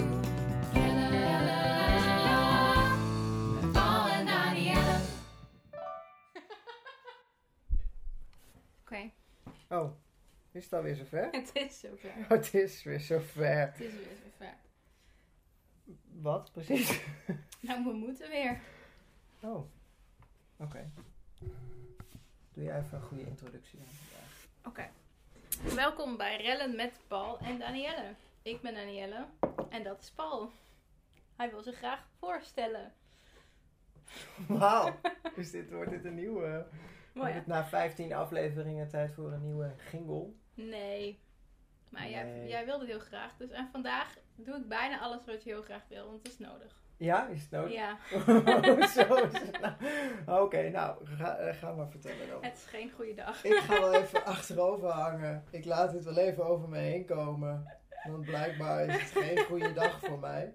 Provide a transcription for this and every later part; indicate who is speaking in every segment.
Speaker 1: Oh, is het alweer zover?
Speaker 2: het is zover.
Speaker 1: Het is weer zover.
Speaker 2: Het is weer zover.
Speaker 1: Wat precies?
Speaker 2: Nou, we moeten weer.
Speaker 1: Oh, oké. Doe jij even een goede introductie aan vandaag.
Speaker 2: Oké. Welkom bij Rellen met Paul en Danielle. Ik ben Danielle en dat is Paul. Hij wil zich graag voorstellen.
Speaker 1: Wauw, dus dit wordt dit een nieuwe.
Speaker 2: Mooi.
Speaker 1: Wordt
Speaker 2: hè?
Speaker 1: het na 15 afleveringen tijd voor een nieuwe jingle?
Speaker 2: Nee. Maar Jij,
Speaker 1: Nee.
Speaker 2: jij wil dit heel graag. Dus en vandaag doe ik bijna alles wat je heel graag wil, want het is nodig.
Speaker 1: Ja, is het nodig?
Speaker 2: Ja,
Speaker 1: Zo is het nou. Oké, nou, ga, eh, ga maar vertellen dan.
Speaker 2: het is geen goede dag.
Speaker 1: Ik ga wel even achterover hangen. Ik laat dit wel even over me heen komen. Want blijkbaar is het geen goede dag voor mij.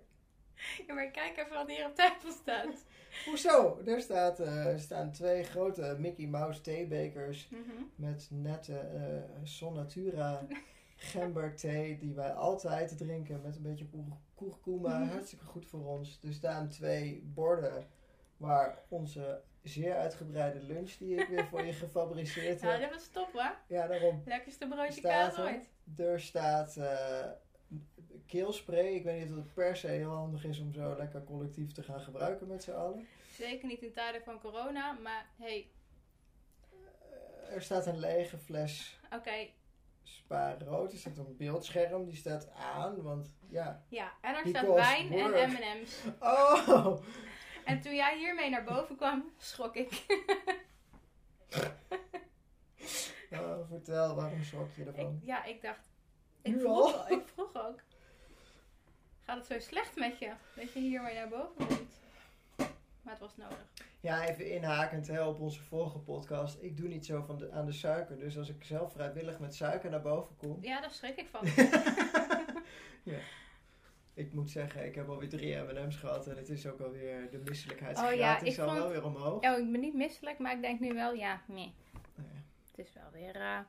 Speaker 2: Ja, maar kijk even wat hier op tafel staat.
Speaker 1: Hoezo? Er staat, eh, er staan twee grote Mickey Mouse theebekers
Speaker 2: Mhm.
Speaker 1: met nette eh Son Natura gemberthee die wij altijd drinken met een beetje koer- kurkuma.
Speaker 2: Mhm.
Speaker 1: Hartstikke goed voor ons. Er staan twee borden waar onze zeer uitgebreide lunch die ik weer voor je gefabriceerd
Speaker 2: Nou,
Speaker 1: heb.
Speaker 2: dat was top hoor.
Speaker 1: Ja, daarom.
Speaker 2: Lekkerste broodje
Speaker 1: Staat
Speaker 2: kaas
Speaker 1: er.
Speaker 2: ooit.
Speaker 1: Er staat eh, keelspray. Ik weet niet of het per se heel handig is om zo lekker collectief te gaan gebruiken met z'n allen.
Speaker 2: Zeker niet in tijden van corona, maar hey,
Speaker 1: Eh, er staat een lege fles
Speaker 2: oké,
Speaker 1: spa rood. Er staat een beeldscherm, die staat aan, want ja.
Speaker 2: ja. En er
Speaker 1: He
Speaker 2: staat
Speaker 1: calls
Speaker 2: wijn en
Speaker 1: work.
Speaker 2: M&M's.
Speaker 1: Oh!
Speaker 2: En toen jij hiermee naar boven kwam, schrok ik.
Speaker 1: Nou, vertel, waarom schrok je
Speaker 2: ik
Speaker 1: ervan?
Speaker 2: ja, ik dacht. Ik
Speaker 1: Nu
Speaker 2: vroeg,
Speaker 1: al?
Speaker 2: ik vroeg ook. Gaat het zo slecht met je? Dat je hiermee naar boven komt? Maar het was nodig.
Speaker 1: Ja, even inhakend hè, op onze vorige podcast. Ik doe niet zo van de, aan de suiker. Dus als ik zelf vrijwillig met suiker naar boven kom.
Speaker 2: Ja, daar schrik ik van.
Speaker 1: ja. Ik moet zeggen, ik heb alweer drie M&M's gehad en het is ook alweer de misselijkheidsgraad
Speaker 2: Oh ja,
Speaker 1: is
Speaker 2: ik
Speaker 1: al
Speaker 2: vond-
Speaker 1: wel weer omhoog.
Speaker 2: Oh, ik ben niet misselijk, maar ik denk nu wel, ja, nee.
Speaker 1: Nou
Speaker 2: Het is wel weer. eh,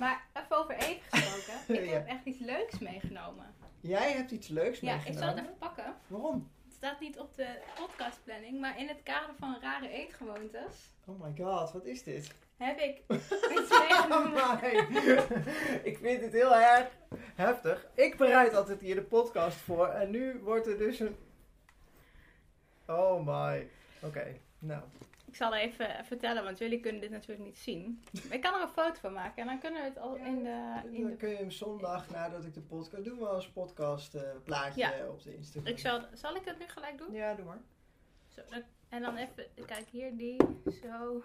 Speaker 2: Maar even over eten gesproken. Ik
Speaker 1: Ja.
Speaker 2: heb echt iets leuks meegenomen.
Speaker 1: Jij hebt iets leuks
Speaker 2: Ja, ik
Speaker 1: meegenomen.
Speaker 2: zal het even pakken.
Speaker 1: Waarom?
Speaker 2: Het staat niet op de podcastplanning, maar in het kader van rare eetgewoontes
Speaker 1: Oh my god, wat is dit?
Speaker 2: heb ik iets meegenomen.
Speaker 1: Oh my. ik vind dit heel erg heftig. Ik bereid altijd hier de podcast voor en nu wordt er dus een... Oh my. Oké, nou.
Speaker 2: Ik zal even vertellen, want jullie kunnen dit natuurlijk niet zien. Maar Ik kan er een foto van maken en dan kunnen we het al in de... In
Speaker 1: Dan
Speaker 2: de...
Speaker 1: kun je hem zondag nadat ik de podcast... Doen we als podcast eh, plaatje
Speaker 2: Ja.
Speaker 1: op de Instagram.
Speaker 2: Ik zal, zal ik dat nu gelijk doen?
Speaker 1: Ja, doe maar.
Speaker 2: Zo, dat- en dan even, kijk hier, die, zo.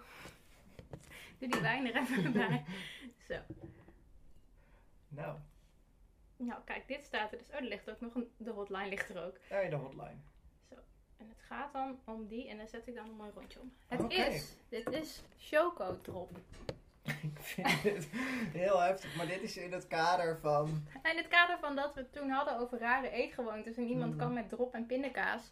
Speaker 2: Doe die wijn er even bij. Zo.
Speaker 1: Nou,
Speaker 2: Nou, kijk, dit staat er dus. Oh, er ligt ook nog een, de hotline ligt er ook.
Speaker 1: daar de hotline.
Speaker 2: En het gaat dan om die en dan zet ik dan een mooi rondje om. Het
Speaker 1: Oké.
Speaker 2: is, dit is Chocodrop.
Speaker 1: ik vind dit heel heftig, maar dit is in het kader van...
Speaker 2: In het kader van dat we het toen hadden over rare eetgewoontes en iemand
Speaker 1: Mm.
Speaker 2: kwam met drop en pindakaas.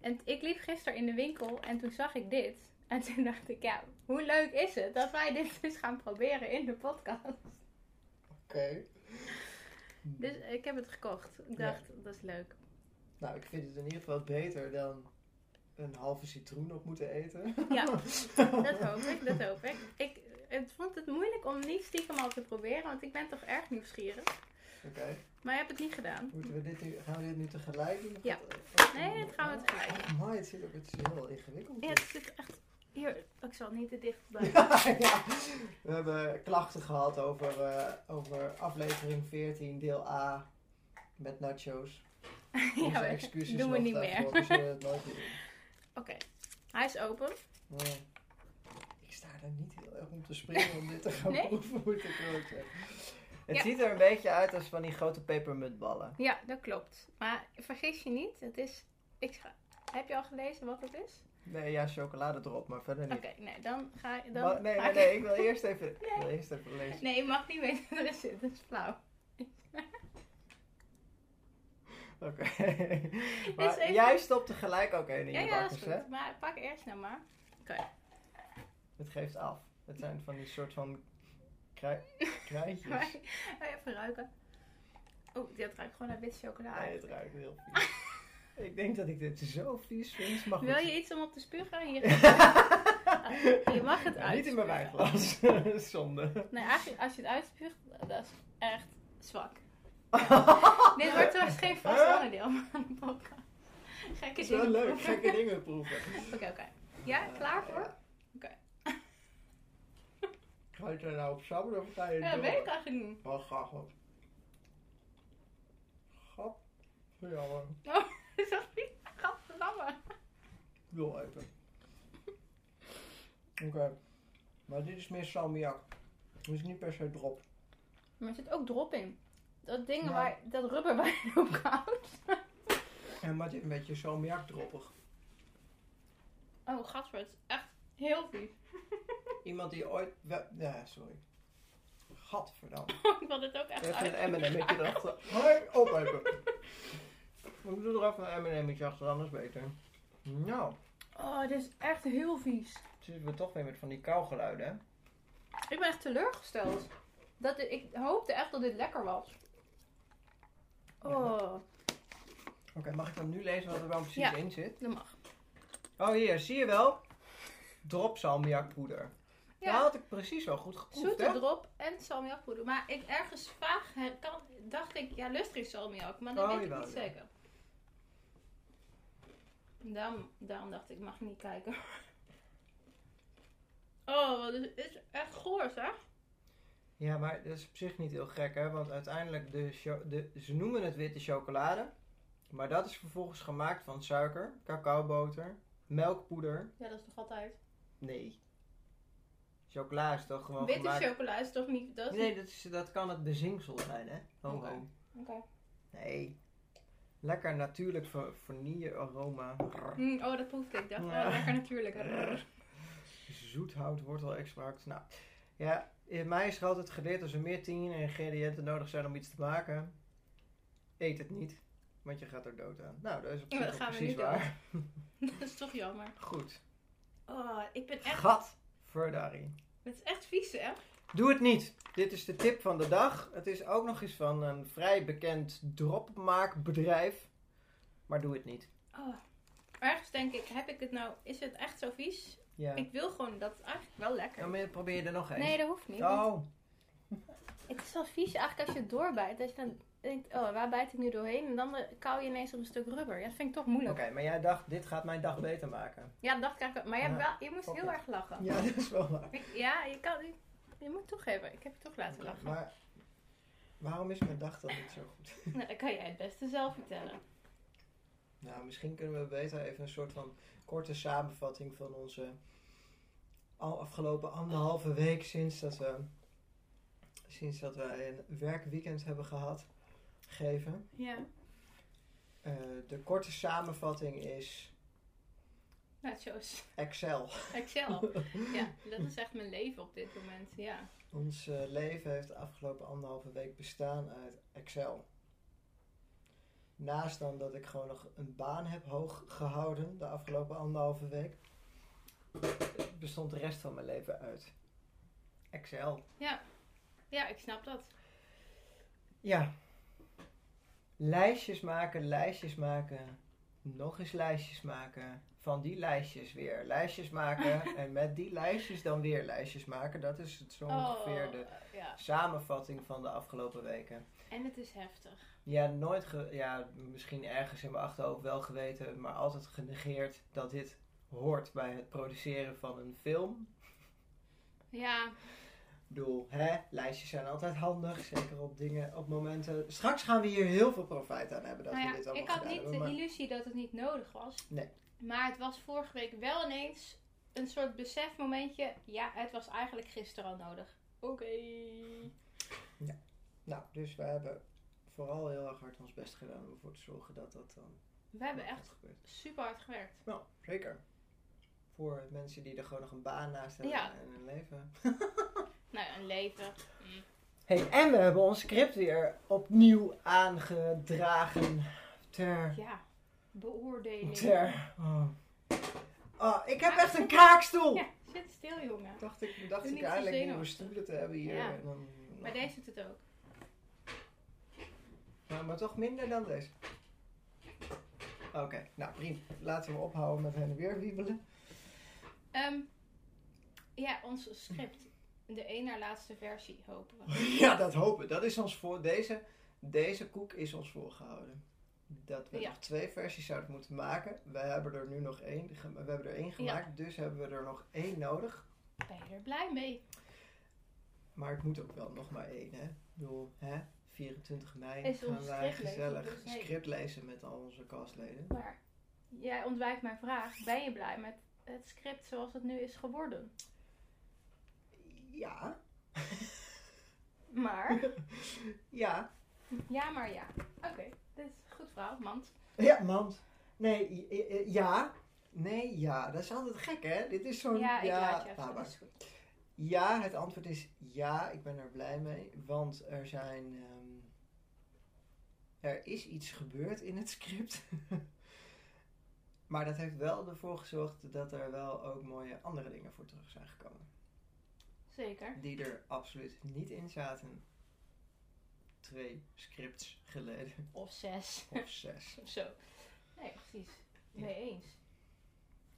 Speaker 2: En t- ik liep gisteren in de winkel en toen zag ik dit. En toen dacht ik, ja, hoe leuk is het dat wij dit dus gaan proberen in de podcast.
Speaker 1: Oké.
Speaker 2: Dus ik heb het gekocht. Ik
Speaker 1: Ja.
Speaker 2: dacht, dat is leuk.
Speaker 1: Nou, ik vind het in ieder geval beter dan een halve citroen op moeten eten.
Speaker 2: Ja, Dat hoop ik, dat hoop ik. Ik het vond het moeilijk om niet stiekem al te proberen, want ik ben toch erg nieuwsgierig.
Speaker 1: Oké,
Speaker 2: Maar ik heb het niet gedaan.
Speaker 1: moeten we dit nu, gaan we dit nu tegelijk doen? Of
Speaker 2: Ja.
Speaker 1: gaat-
Speaker 2: Nee, dat gaan we tegelijk.
Speaker 1: Oh my, het zit ook het is heel ingewikkeld.
Speaker 2: Ja, het zit echt... Hier, ik zal niet te dicht blijven.
Speaker 1: Ja, ja. We hebben klachten gehad over, eh, over aflevering 14, deel A, met nachos. Onze
Speaker 2: maar
Speaker 1: excuses
Speaker 2: doen we
Speaker 1: nog
Speaker 2: niet
Speaker 1: daarvoor,
Speaker 2: meer.
Speaker 1: we zullen het nooit meer doen.
Speaker 2: Oké, hij is open.
Speaker 1: Nee. Ik sta daar niet heel erg om te springen om dit te gaan
Speaker 2: Nee?
Speaker 1: proeven, moet ik wel zeggen. Het
Speaker 2: Ja.
Speaker 1: ziet er een beetje uit als van die grote pepermuntballen.
Speaker 2: Ja, dat klopt. Maar vergis je niet, het is. Ik ga- Heb je al gelezen wat het is?
Speaker 1: Nee, ja, chocoladedrop, maar verder
Speaker 2: Oké,
Speaker 1: niet.
Speaker 2: nee, dan ga je. Dan
Speaker 1: Maar- nee,
Speaker 2: ga
Speaker 1: nee,
Speaker 2: ik-
Speaker 1: nee, ik wil eerst even, ik wil eerst even lezen.
Speaker 2: Nee, je mag niet weten wat er zit, dat is flauw.
Speaker 1: Oké.
Speaker 2: Is
Speaker 1: Maar
Speaker 2: even-
Speaker 1: jij stopt er gelijk ook een in
Speaker 2: Ja,
Speaker 1: je
Speaker 2: ja, dat is
Speaker 1: bakkers, hè?
Speaker 2: goed. Maar pak eerst nou maar.
Speaker 1: Het geeft af. Het zijn van die soort van krui-
Speaker 2: Maar,
Speaker 1: kruidjes.
Speaker 2: even ruiken. Oeh, dit ruikt gewoon naar wit chocola.
Speaker 1: Nee, het ruikt heel vies. Ik denk dat ik dit zo vies vind, maar goed.
Speaker 2: Wil je iets om op te spugen? Hier. Je mag het
Speaker 1: Ja, niet in mijn
Speaker 2: uitspugen.
Speaker 1: wijnglas. Zonde.
Speaker 2: Nee, eigenlijk als je het uitspuugt, dat is echt zwak. Dit wordt trouwens geen vast onderdeel van de podcast. Gekke
Speaker 1: is wel
Speaker 2: dingen.
Speaker 1: leuk,
Speaker 2: proeven.
Speaker 1: gekke dingen proeven. Eh.
Speaker 2: Oké, oké. Ja, klaar voor?
Speaker 1: Ga je daar nou op sabbelen of ga je
Speaker 2: Ja,
Speaker 1: door?
Speaker 2: dat weet ik eigenlijk niet.
Speaker 1: Oh, grappig. Grap. Jammer.
Speaker 2: Oh, is dat niet? Gadverdamme.
Speaker 1: Wil even. Oké. Maar dit is meer salmiak. Dus niet per se drop.
Speaker 2: Maar er zit ook drop in. Dat ding
Speaker 1: Ja.
Speaker 2: waar, dat rubber waar je op houdt.
Speaker 1: En maar dit is een beetje salmiak droppig.
Speaker 2: Oh, gadver, het is echt heel vies.
Speaker 1: Iemand die ooit... we- Ja, sorry. Gadverdamme.
Speaker 2: ik wil dit ook echt
Speaker 1: Even een
Speaker 2: uit.
Speaker 1: M&M'tje erachter. Hoi, op even. Ik doe er even een M&M'tje achter, anders beter. Nou,
Speaker 2: Oh, dit is echt heel vies.
Speaker 1: zitten we toch weer met van die kauwgeluiden, hè?
Speaker 2: Ik ben echt teleurgesteld. Dat dit- ik hoopte echt dat dit lekker was. Oh,
Speaker 1: Oké, mag ik dan nu lezen wat er dan precies
Speaker 2: Ja.
Speaker 1: in zit?
Speaker 2: dat mag.
Speaker 1: Oh, hier, zie je wel? Drop salmiakpoeder. Ja. Dat
Speaker 2: Ja,
Speaker 1: had ik precies wel goed geproefd,
Speaker 2: zoete
Speaker 1: hè?
Speaker 2: drop en salmiakpoeder. Maar ik ergens vaag her- kan- dacht ik, ja, lust geen salmiak. Maar dat
Speaker 1: Oh,
Speaker 2: weet ik
Speaker 1: jawel,
Speaker 2: niet
Speaker 1: ja.
Speaker 2: zeker. Daarom, daarom dacht ik, mag niet kijken. Oh, dit is echt goor, zeg.
Speaker 1: Ja, maar dat is op zich niet heel gek, hè? Want uiteindelijk, de cho- de, ze noemen het witte chocolade. Maar dat is vervolgens gemaakt van suiker, cacaoboter, melkpoeder.
Speaker 2: Ja, dat is toch altijd.
Speaker 1: Nee. Chocola is toch gewoon
Speaker 2: Witte
Speaker 1: gemaakt...
Speaker 2: chocola is toch niet... Dat is
Speaker 1: Nee, dat, is, dat kan het bezinksel zijn, hè? Ho, ho.
Speaker 2: Oké. Oké.
Speaker 1: Nee. Lekker natuurlijk va- vanille aroma.
Speaker 2: Mm, oh, dat proefde ik. Ik dacht,
Speaker 1: Ja.
Speaker 2: oh, lekker natuurlijk.
Speaker 1: Zoethout, wortel-extract. Nou, ja, in mij is er altijd geleerd als er meer 10 ingrediënten nodig zijn om iets te maken, eet het niet, want je gaat er dood aan. Nou, dat is op
Speaker 2: Ja,
Speaker 1: zich
Speaker 2: dat
Speaker 1: ook
Speaker 2: gaan we niet
Speaker 1: precies
Speaker 2: doen.
Speaker 1: waar.
Speaker 2: dat is toch jammer.
Speaker 1: Goed.
Speaker 2: Oh, ik ben echt...
Speaker 1: Gat. Verdari.
Speaker 2: Het is echt vies, hè?
Speaker 1: Doe het niet. Dit is de tip van de dag. Het is ook nog eens van een vrij bekend dropmaakbedrijf. Maar doe het niet.
Speaker 2: Oh. Ergens denk ik, heb ik het nou... Is het echt zo vies?
Speaker 1: Ja.
Speaker 2: Ik wil gewoon dat eigenlijk wel lekker.
Speaker 1: Dan probeer je er nog eens.
Speaker 2: Nee, dat hoeft niet. want
Speaker 1: Oh,
Speaker 2: Het is wel vies eigenlijk als je het doorbijt. Dat je dan denkt, oh, waar bijt ik nu doorheen? En dan kauw je ineens op een stuk rubber. Ja, dat vind ik toch
Speaker 1: oké,
Speaker 2: moeilijk.
Speaker 1: maar jij dacht, dit gaat mijn dag beter maken.
Speaker 2: Ja, dat krijg ik wel. Maar je, hebt wel, je moest
Speaker 1: Oké.
Speaker 2: heel erg lachen.
Speaker 1: Ja, dat is wel waar.
Speaker 2: Ik- ja, je kan... Je, je moet toegeven. Ik heb je toch laten
Speaker 1: Oké,
Speaker 2: lachen.
Speaker 1: Maar waarom is mijn dag dan niet zo goed?
Speaker 2: Nou, dat kan jij het beste zelf vertellen.
Speaker 1: Nou, misschien kunnen we beter even een soort van korte samenvatting van onze al afgelopen anderhalve week sinds dat we, sinds dat we een werkweekend hebben gehad geven.
Speaker 2: Ja.
Speaker 1: Eh, de korte samenvatting is
Speaker 2: Nachos.
Speaker 1: Excel.
Speaker 2: Excel. Ja, dat is echt mijn leven op dit moment. Ja.
Speaker 1: Ons eh, leven heeft de afgelopen anderhalve week bestaan uit Excel. Naast dan dat ik gewoon nog een baan heb hoog gehouden de afgelopen anderhalve week, bestond de rest van mijn leven uit Excel.
Speaker 2: ja, ik snap dat.
Speaker 1: Ja. Lijstjes maken, lijstjes maken, nog eens lijstjes maken, van die lijstjes weer lijstjes maken en met die lijstjes dan weer lijstjes maken. Dat is het zo
Speaker 2: Oh.
Speaker 1: ongeveer de
Speaker 2: ja.
Speaker 1: samenvatting van de afgelopen weken.
Speaker 2: En het is heftig.
Speaker 1: Ja, nooit, ge- ja, misschien ergens in mijn achterhoofd wel geweten, maar altijd genegeerd dat dit hoort bij het produceren van een film.
Speaker 2: Ja,
Speaker 1: Ik bedoel, hè, lijstjes zijn altijd handig, zeker op dingen, op momenten. Straks gaan we hier heel veel profijt aan hebben dat
Speaker 2: nou ja,
Speaker 1: we dit allemaal
Speaker 2: ik had
Speaker 1: gedaan
Speaker 2: niet de
Speaker 1: hebben, maar-
Speaker 2: illusie dat het niet nodig was.
Speaker 1: Nee.
Speaker 2: Maar het was vorige week wel ineens een soort besefmomentje. Ja, het was eigenlijk gisteren al nodig. Oké.
Speaker 1: Nou, dus we hebben vooral heel erg hard ons best gedaan om ervoor te zorgen dat dat dan
Speaker 2: We hebben
Speaker 1: dat
Speaker 2: echt
Speaker 1: gebeurt.
Speaker 2: super hard gewerkt.
Speaker 1: Nou, zeker. Voor mensen die er gewoon nog een baan naast hebben
Speaker 2: Ja.
Speaker 1: en een leven.
Speaker 2: Nou, ja, een leven. Mm.
Speaker 1: Hey, en we hebben ons script weer opnieuw aangedragen ter...
Speaker 2: Ja, beoordeling.
Speaker 1: ter oh. Oh, ik heb echt een kraakstoel!
Speaker 2: Ja, zit stil, jongen.
Speaker 1: Dacht ik, dacht
Speaker 2: Doe
Speaker 1: ik
Speaker 2: niet zo
Speaker 1: eigenlijk nieuwe
Speaker 2: zenuwachtig.
Speaker 1: stoelen te hebben hier.
Speaker 2: Ja.
Speaker 1: En dan,
Speaker 2: Maar deze doet het ook.
Speaker 1: Nou, maar toch minder dan deze. Oké, nou prima. Laten we ophouden met heen en weer wiebelen.
Speaker 2: Ehm, Ja, ons script. De één naar laatste versie, hopen we.
Speaker 1: ja, dat hopen we. Dat is ons voor. Deze, deze koek is ons voorgehouden. Dat we
Speaker 2: Ja.
Speaker 1: nog twee versies zouden moeten maken. We hebben er nu nog één. ge- We hebben er één gemaakt, dus hebben we er nog één nodig.
Speaker 2: Ben je er blij mee?
Speaker 1: Maar het moet ook wel nog maar één, hè? Ik bedoel, hè? 24 mei
Speaker 2: Is
Speaker 1: gaan
Speaker 2: ons
Speaker 1: wij
Speaker 2: script lezen,
Speaker 1: gezellig
Speaker 2: dus nee.
Speaker 1: script lezen met al onze castleden.
Speaker 2: Maar jij ontwijkt mijn vraag. Ben je blij met het script zoals het nu is geworden?
Speaker 1: Ja,
Speaker 2: Maar,
Speaker 1: ja.
Speaker 2: ja maar ja. Oké, dit is een goed verhaal, mand.
Speaker 1: Ja, mand. Nee, i- i- i- ja. Nee, ja. Dat is altijd gek, hè? Dit is zo'n...
Speaker 2: Ja, ik laat je
Speaker 1: Oh, laat
Speaker 2: even.
Speaker 1: maar.
Speaker 2: Dat is goed.
Speaker 1: Ja, het antwoord is ja, ik ben er blij mee. Want er zijn. ehm, er is iets gebeurd in het script. maar dat heeft wel ervoor gezorgd dat er wel ook mooie andere dingen voor terug zijn gekomen.
Speaker 2: Zeker.
Speaker 1: Die er absoluut niet in zaten. Twee scripts geleden,
Speaker 2: Of zes.
Speaker 1: of zes.
Speaker 2: Of zo. Nee, precies. Mee eens.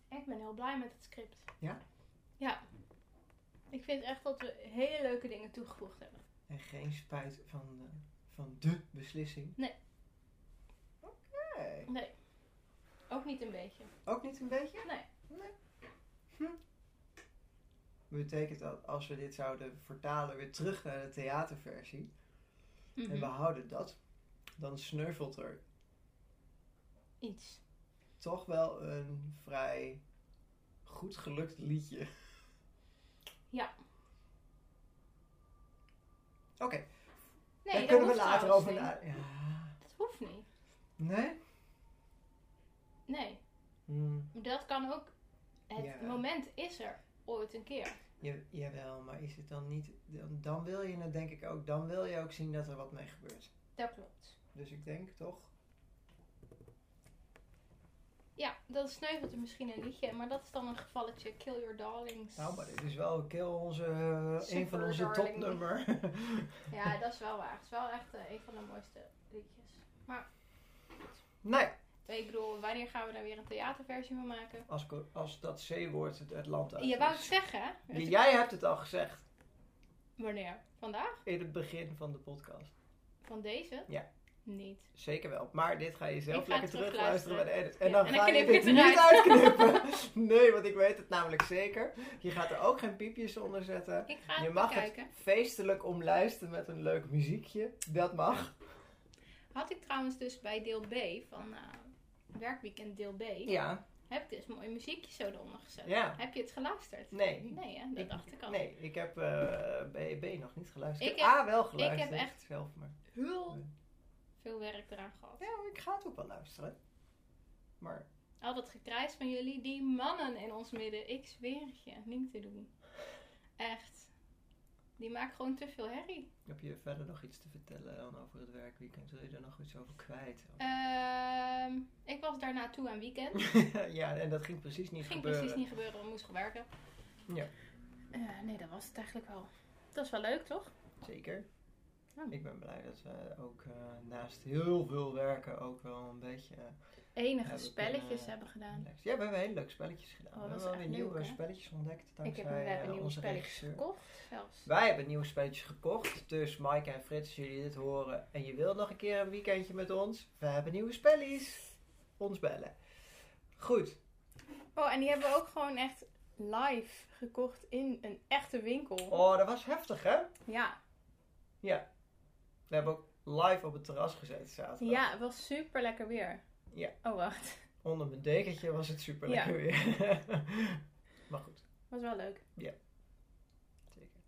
Speaker 2: Ik ben heel blij met het script.
Speaker 1: Ja?
Speaker 2: Ja. Ik vind echt dat we hele leuke dingen toegevoegd hebben.
Speaker 1: En geen spijt van de, van de beslissing.
Speaker 2: Nee.
Speaker 1: Oké.
Speaker 2: Nee. Ook niet een beetje.
Speaker 1: Ook niet een beetje?
Speaker 2: Nee.
Speaker 1: Nee. Betekent dat als we dit zouden vertalen weer terug naar de theaterversie
Speaker 2: Mhm.
Speaker 1: en we houden dat, dan sneuvelt er
Speaker 2: Iets.
Speaker 1: toch wel een vrij goed gelukt liedje.
Speaker 2: Ja.
Speaker 1: Oké,
Speaker 2: Nee,
Speaker 1: daar
Speaker 2: dat
Speaker 1: kunnen we
Speaker 2: hoeft
Speaker 1: later
Speaker 2: trouwens niet.
Speaker 1: over na. Ja.
Speaker 2: Dat hoeft niet.
Speaker 1: Nee?
Speaker 2: Nee.
Speaker 1: Hmm.
Speaker 2: Dat kan ook. Het
Speaker 1: Ja.
Speaker 2: moment is er ooit een keer.
Speaker 1: Ja- jawel, maar is het dan niet. Dan, dan wil je het denk ik ook. Dan wil je ook zien dat er wat mee gebeurt.
Speaker 2: Dat klopt.
Speaker 1: Dus ik denk toch.
Speaker 2: Ja, dan sneuvelt er misschien een liedje. Maar dat is dan een gevalletje. Kill your darlings.
Speaker 1: Nou, maar dit is wel Kill onze, eh, een van
Speaker 2: Super
Speaker 1: onze
Speaker 2: darling.
Speaker 1: topnummer.
Speaker 2: Ja, dat is wel waar. Het is wel echt eh, een van de mooiste liedjes.
Speaker 1: nee,
Speaker 2: Ik bedoel, wanneer gaan we daar weer een theaterversie van maken?
Speaker 1: als, ik- als dat C-woord het, het land uit
Speaker 2: Je wou het
Speaker 1: is.
Speaker 2: zeggen, hè?
Speaker 1: Ja, Jij hebt het al gezegd
Speaker 2: Wanneer? Vandaag?
Speaker 1: in het begin van de podcast.
Speaker 2: Van deze?
Speaker 1: Ja.
Speaker 2: Niet.
Speaker 1: Zeker wel, maar dit ga je zelf
Speaker 2: Ik ga
Speaker 1: lekker
Speaker 2: het terug
Speaker 1: terugluisteren bij de edit. En
Speaker 2: Ja,
Speaker 1: dan
Speaker 2: en dan
Speaker 1: ga je
Speaker 2: knip ik
Speaker 1: dit
Speaker 2: het
Speaker 1: niet
Speaker 2: eruit.
Speaker 1: uitknippen. Nee, want ik weet het namelijk zeker. Je gaat er ook geen piepjes onder zetten.
Speaker 2: Ik ga
Speaker 1: Je
Speaker 2: het
Speaker 1: mag
Speaker 2: bekijken.
Speaker 1: het feestelijk omlijsten met een leuk muziekje. Dat mag.
Speaker 2: Had ik trouwens dus bij deel B van eh, werkweekend deel B.
Speaker 1: Ja,
Speaker 2: Heb ik dus mooi muziekje zo eronder gezet.
Speaker 1: ja.
Speaker 2: Heb je het geluisterd?
Speaker 1: Nee,
Speaker 2: Nee, hè? Dat
Speaker 1: Ik-
Speaker 2: dacht ik al.
Speaker 1: Nee, ik heb eh B, B nog niet geluisterd.
Speaker 2: Ik
Speaker 1: Ik
Speaker 2: heb-
Speaker 1: heb, A wel geluisterd.
Speaker 2: ik heb echt-
Speaker 1: Zelf maar.
Speaker 2: Heel veel werk eraan gehad.
Speaker 1: Ja, ik ga het ook wel luisteren. Maar
Speaker 2: Al dat gekrijs van jullie, die mannen in ons midden, ik zweer het je, niet te doen. Echt. Die maken gewoon te veel herrie.
Speaker 1: heb je verder nog iets te vertellen dan over het werkweekend? Wil je er nog iets over kwijt?
Speaker 2: Ehm, ik was daarna toe aan weekend.
Speaker 1: ja, en dat ging precies niet
Speaker 2: Ging
Speaker 1: gebeuren.
Speaker 2: precies niet gebeuren, we moest gewoon werken.
Speaker 1: Ja.
Speaker 2: Eh, nee, dat was het eigenlijk wel. Dat is wel leuk, toch?
Speaker 1: Zeker.
Speaker 2: Oh.
Speaker 1: Ik ben blij dat we ook eh, naast heel veel werken ook wel een beetje... eh,
Speaker 2: Enige
Speaker 1: Ja, eh, we
Speaker 2: spelletjes
Speaker 1: kunnen-
Speaker 2: hebben gedaan.
Speaker 1: relaxed- ja, we hebben hele leuke spelletjes gedaan.
Speaker 2: Oh,
Speaker 1: we
Speaker 2: dat is
Speaker 1: hebben wel
Speaker 2: echt
Speaker 1: weer nieuwe
Speaker 2: leuk, hè?
Speaker 1: spelletjes ontdekt
Speaker 2: Ik
Speaker 1: dankzij
Speaker 2: heb, we
Speaker 1: eh,
Speaker 2: hebben nieuwe
Speaker 1: onze
Speaker 2: spelletjes
Speaker 1: regisseur.
Speaker 2: gekocht zelfs.
Speaker 1: Wij hebben nieuwe spelletjes gekocht. Dus Mike en Frits, als jullie dit horen en je wilt nog een keer een weekendje met ons, we hebben nieuwe spelletjes. Ons bellen. Goed.
Speaker 2: Oh, en die hebben we ook gewoon echt live gekocht in een echte winkel.
Speaker 1: Oh, dat was heftig, hè?
Speaker 2: Ja.
Speaker 1: We hebben ook live op het terras gezeten zaterdag.
Speaker 2: ja, het was super lekker weer.
Speaker 1: Ja.
Speaker 2: Oh, wacht.
Speaker 1: Onder mijn dekentje was het super
Speaker 2: Ja.
Speaker 1: lekker weer. maar goed,
Speaker 2: Was wel leuk.
Speaker 1: zeker.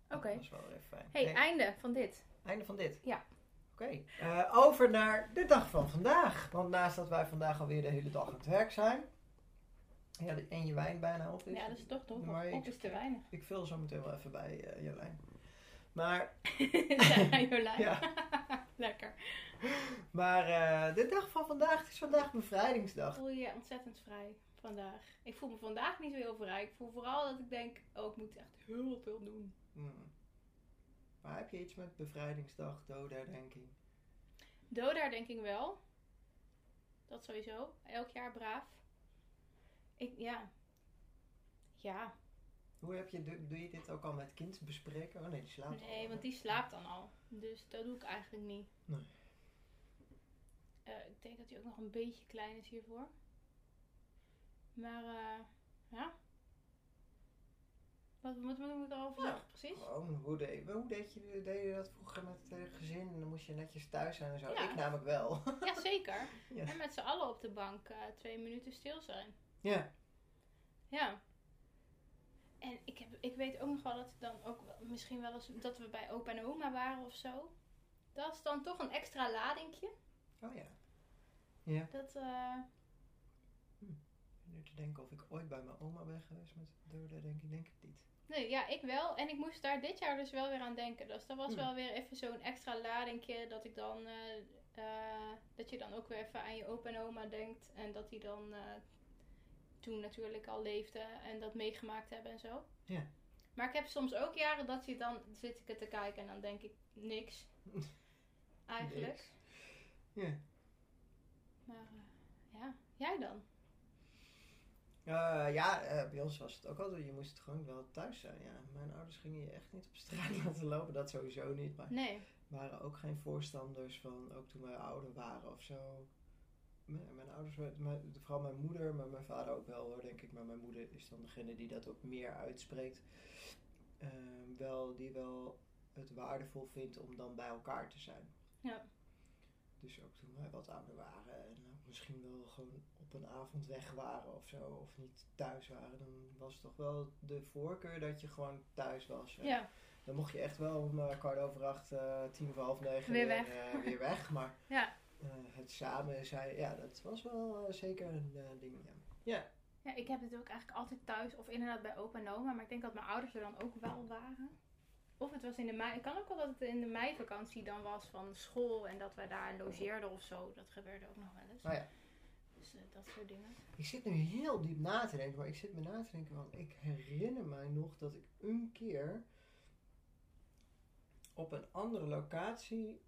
Speaker 2: Oké.
Speaker 1: Dat was wel weer fijn.
Speaker 2: Hey,
Speaker 1: Hey,
Speaker 2: einde van dit.
Speaker 1: einde van dit.
Speaker 2: Ja.
Speaker 1: Oké, eh, over naar de dag van vandaag. Want naast dat wij vandaag alweer de hele dag aan het werk zijn. Ja, de- en je wijn bijna op is.
Speaker 2: Ja, dat is toch toch?
Speaker 1: Maar
Speaker 2: Op
Speaker 1: ik,
Speaker 2: is te weinig.
Speaker 1: ik vul zo meteen wel even bij eh, Jolijn. Maar,
Speaker 2: Zijn Jolijn.
Speaker 1: ja,
Speaker 2: Lekker.
Speaker 1: maar eh, de dag van vandaag het is vandaag bevrijdingsdag.
Speaker 2: voel je ontzettend vrij vandaag. Ik voel me vandaag niet zo heel vrij. Ik voel vooral dat ik denk, oh, ik moet echt heel veel doen.
Speaker 1: Hmm. Maar heb je iets met bevrijdingsdag, dodenherdenking?
Speaker 2: Doda denk ik wel. Dat sowieso. Elk jaar braaf. Ik, ja. Ja.
Speaker 1: Hoe heb je, doe, doe je dit ook al met kind bespreken? Oh nee, die slaapt al.
Speaker 2: Nee, want die slaapt dan al. Dus dat doe ik eigenlijk niet.
Speaker 1: Nee.
Speaker 2: Eh, ik denk dat hij ook nog een beetje klein is hiervoor. Maar, eh, ja. Wat, wat, wat moet ik erover
Speaker 1: Ja.
Speaker 2: zeggen, precies?
Speaker 1: Gewoon, hoe deed, hoe deed je, deed je dat vroeger met het hele gezin? En dan moest je netjes thuis zijn en zo.
Speaker 2: Ja.
Speaker 1: Ik namelijk wel.
Speaker 2: Ja, zeker.
Speaker 1: Ja.
Speaker 2: En met z'n allen op de bank eh, twee minuten stil zijn.
Speaker 1: ja.
Speaker 2: Ja. En ik, heb, ik weet ook nog wel dat ik dan ook wel- misschien wel eens dat we bij opa en oma waren of zo. Dat is dan toch een extra ladingje.
Speaker 1: Oh ja.
Speaker 2: Dat, eh,
Speaker 1: Nu te denken of ik ooit bij mijn oma ben geweest met dode, denk ik, denk ik niet.
Speaker 2: nee, ja, ik wel. En ik moest daar dit jaar dus wel weer aan denken. Dus dat was
Speaker 1: Hmm.
Speaker 2: wel weer even zo'n extra ladingje dat ik dan, eh, eh, dat je dan ook weer even aan je opa en oma denkt. En dat die dan eh, toen natuurlijk al leefden en dat meegemaakt hebben en zo.
Speaker 1: Ja.
Speaker 2: Maar ik heb soms ook jaren dat je dan zit ik het te kijken en dan denk ik niks. Eigenlijk.
Speaker 1: Niks. Ja.
Speaker 2: Maar eh, ja, jij dan?
Speaker 1: Eh, ja, eh, bij ons was het ook altijd, je moest het gewoon wel thuis zijn. Ja. Mijn ouders gingen je echt niet op straat laten lopen, dat sowieso niet. Maar
Speaker 2: Nee.
Speaker 1: waren ook geen voorstanders van, ook toen wij ouder waren of zo. Mijn, mijn ouders, wa- mijn- vooral mijn moeder, maar mijn vader ook wel hoor, denk ik. Maar mijn moeder is dan degene die dat ook meer uitspreekt. Ehm, wel, die wel het waardevol vindt om dan bij elkaar te zijn.
Speaker 2: Ja.
Speaker 1: Dus ook toen wij wat ouder waren en ook misschien wel gewoon op een avond weg waren of zo, of niet thuis waren, dan was toch wel de voorkeur dat je gewoon thuis was.
Speaker 2: Ja.
Speaker 1: En
Speaker 2: ja.
Speaker 1: dan mocht je echt wel om eh, kwart over acht, eh, tien voor half negen
Speaker 2: Weer weg.
Speaker 1: eh, weer weg. Maar
Speaker 2: Ja.
Speaker 1: eh, het samen zijn, ja, dat was wel eh, zeker een eh, ding. Ja.
Speaker 2: ik heb het ook eigenlijk altijd thuis of inderdaad bij opa en oma. Maar ik denk dat mijn ouders er dan ook wel waren. Of het was in de mei. Ik kan ook wel dat het in de meivakantie dan was van school. En dat wij daar logeerden of zo. Dat gebeurde ook nog wel eens.
Speaker 1: Nou ja.
Speaker 2: Dus eh, dat soort dingen.
Speaker 1: Ik zit nu heel diep na te denken, maar ik zit me na te denken, want ik herinner mij nog dat ik een keer op een andere locatie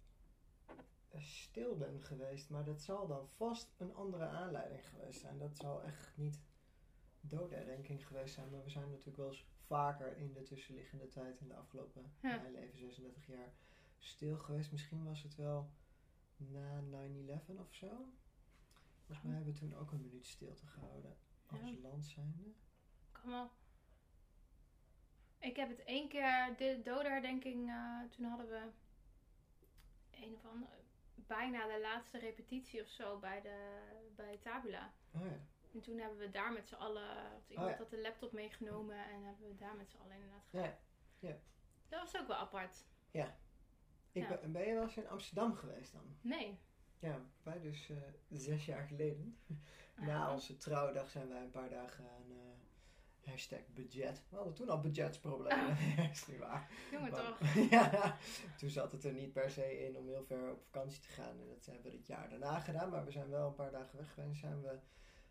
Speaker 1: eh, stil ben geweest. Maar dat zal dan vast een andere aanleiding geweest zijn. Dat zal echt niet doodherdenking geweest zijn, maar we zijn natuurlijk wel eens vaker in de tussenliggende tijd in de afgelopen
Speaker 2: Ja.
Speaker 1: mijn leven 36 jaar stil geweest. Misschien was het wel na 9-11 of zo. Volgens mij hebben we toen ook een minuut stilte gehouden.
Speaker 2: Oh. Ja.
Speaker 1: Als land zijnde.
Speaker 2: Kan wel. Ik heb het één keer, de dodenherdenking, eh toen hadden we een of andere, bijna de laatste repetitie of zo bij, de, bij Tabula.
Speaker 1: Oh ja.
Speaker 2: En toen hebben we daar met z'n allen, had iemand
Speaker 1: Oh, ja.
Speaker 2: had de laptop meegenomen en hebben we daar met z'n allen inderdaad gedaan.
Speaker 1: ja.
Speaker 2: Dat was ook wel apart.
Speaker 1: Ik
Speaker 2: Ja.
Speaker 1: ben, ben je wel eens in Amsterdam geweest dan?
Speaker 2: Nee.
Speaker 1: Ja, wij dus eh, zes jaar geleden. Na onze trouwdag zijn wij een paar dagen aan eh, hashtag budget. We hadden toen al budgetsproblemen. dat is niet waar.
Speaker 2: Jongen
Speaker 1: Maar-
Speaker 2: toch.
Speaker 1: ja, toen zat het er niet per se in om heel ver op vakantie te gaan. En dat hebben we het jaar daarna gedaan. Maar we zijn wel een paar dagen weg geweest. Zijn we,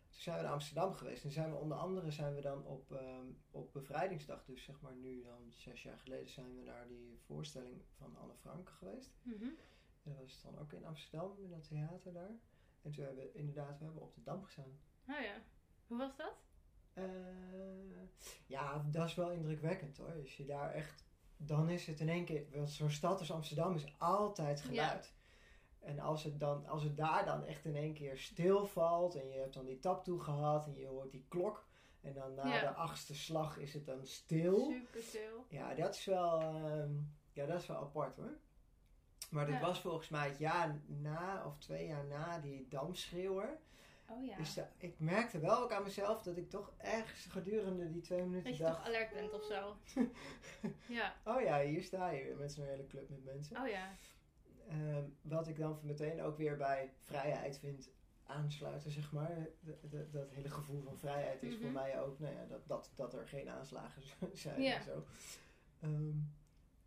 Speaker 1: toen zijn we naar Amsterdam geweest. En zijn we onder andere zijn we dan op, ehm, op bevrijdingsdag. Dus zeg maar nu dan zes jaar geleden zijn we naar die voorstelling van Anne Frank geweest.
Speaker 2: Mhm.
Speaker 1: En dat was dan ook in Amsterdam, in dat theater daar. En toen hebben we inderdaad, we hebben op de Dam gestaan.
Speaker 2: Oh ja. Hoe was dat?
Speaker 1: Eh, ja, dat is wel indrukwekkend hoor. Als je daar echt, dan is het in één keer, want zo'n stad als Amsterdam is altijd geluid. En als het, dan, als het daar dan echt in één keer stilvalt en je hebt dan die tap toe gehad en je hoort die klok. En dan na
Speaker 2: Ja.
Speaker 1: de achtste slag is het dan stil.
Speaker 2: Super stil.
Speaker 1: Ja, dat is wel, ehm, ja, dat is wel apart hoor. Maar dat
Speaker 2: Ja.
Speaker 1: was volgens mij het jaar na, of twee jaar na, die damschreeuwer.
Speaker 2: Oh ja.
Speaker 1: Dus da- ik merkte wel ook aan mezelf dat ik toch ergens gedurende die twee minuten
Speaker 2: Dat je
Speaker 1: dacht...
Speaker 2: toch alert bent of zo. ja.
Speaker 1: Oh ja, hier sta je weer met zo'n hele club met mensen.
Speaker 2: Oh ja.
Speaker 1: Ehm, wat ik dan meteen ook weer bij vrijheid vind aansluiten, zeg maar. De- de- dat hele gevoel van vrijheid is
Speaker 2: Mhm.
Speaker 1: voor mij ook, nou ja, dat, dat, dat er geen aanslagen zijn
Speaker 2: Ja.
Speaker 1: en zo. Ehm,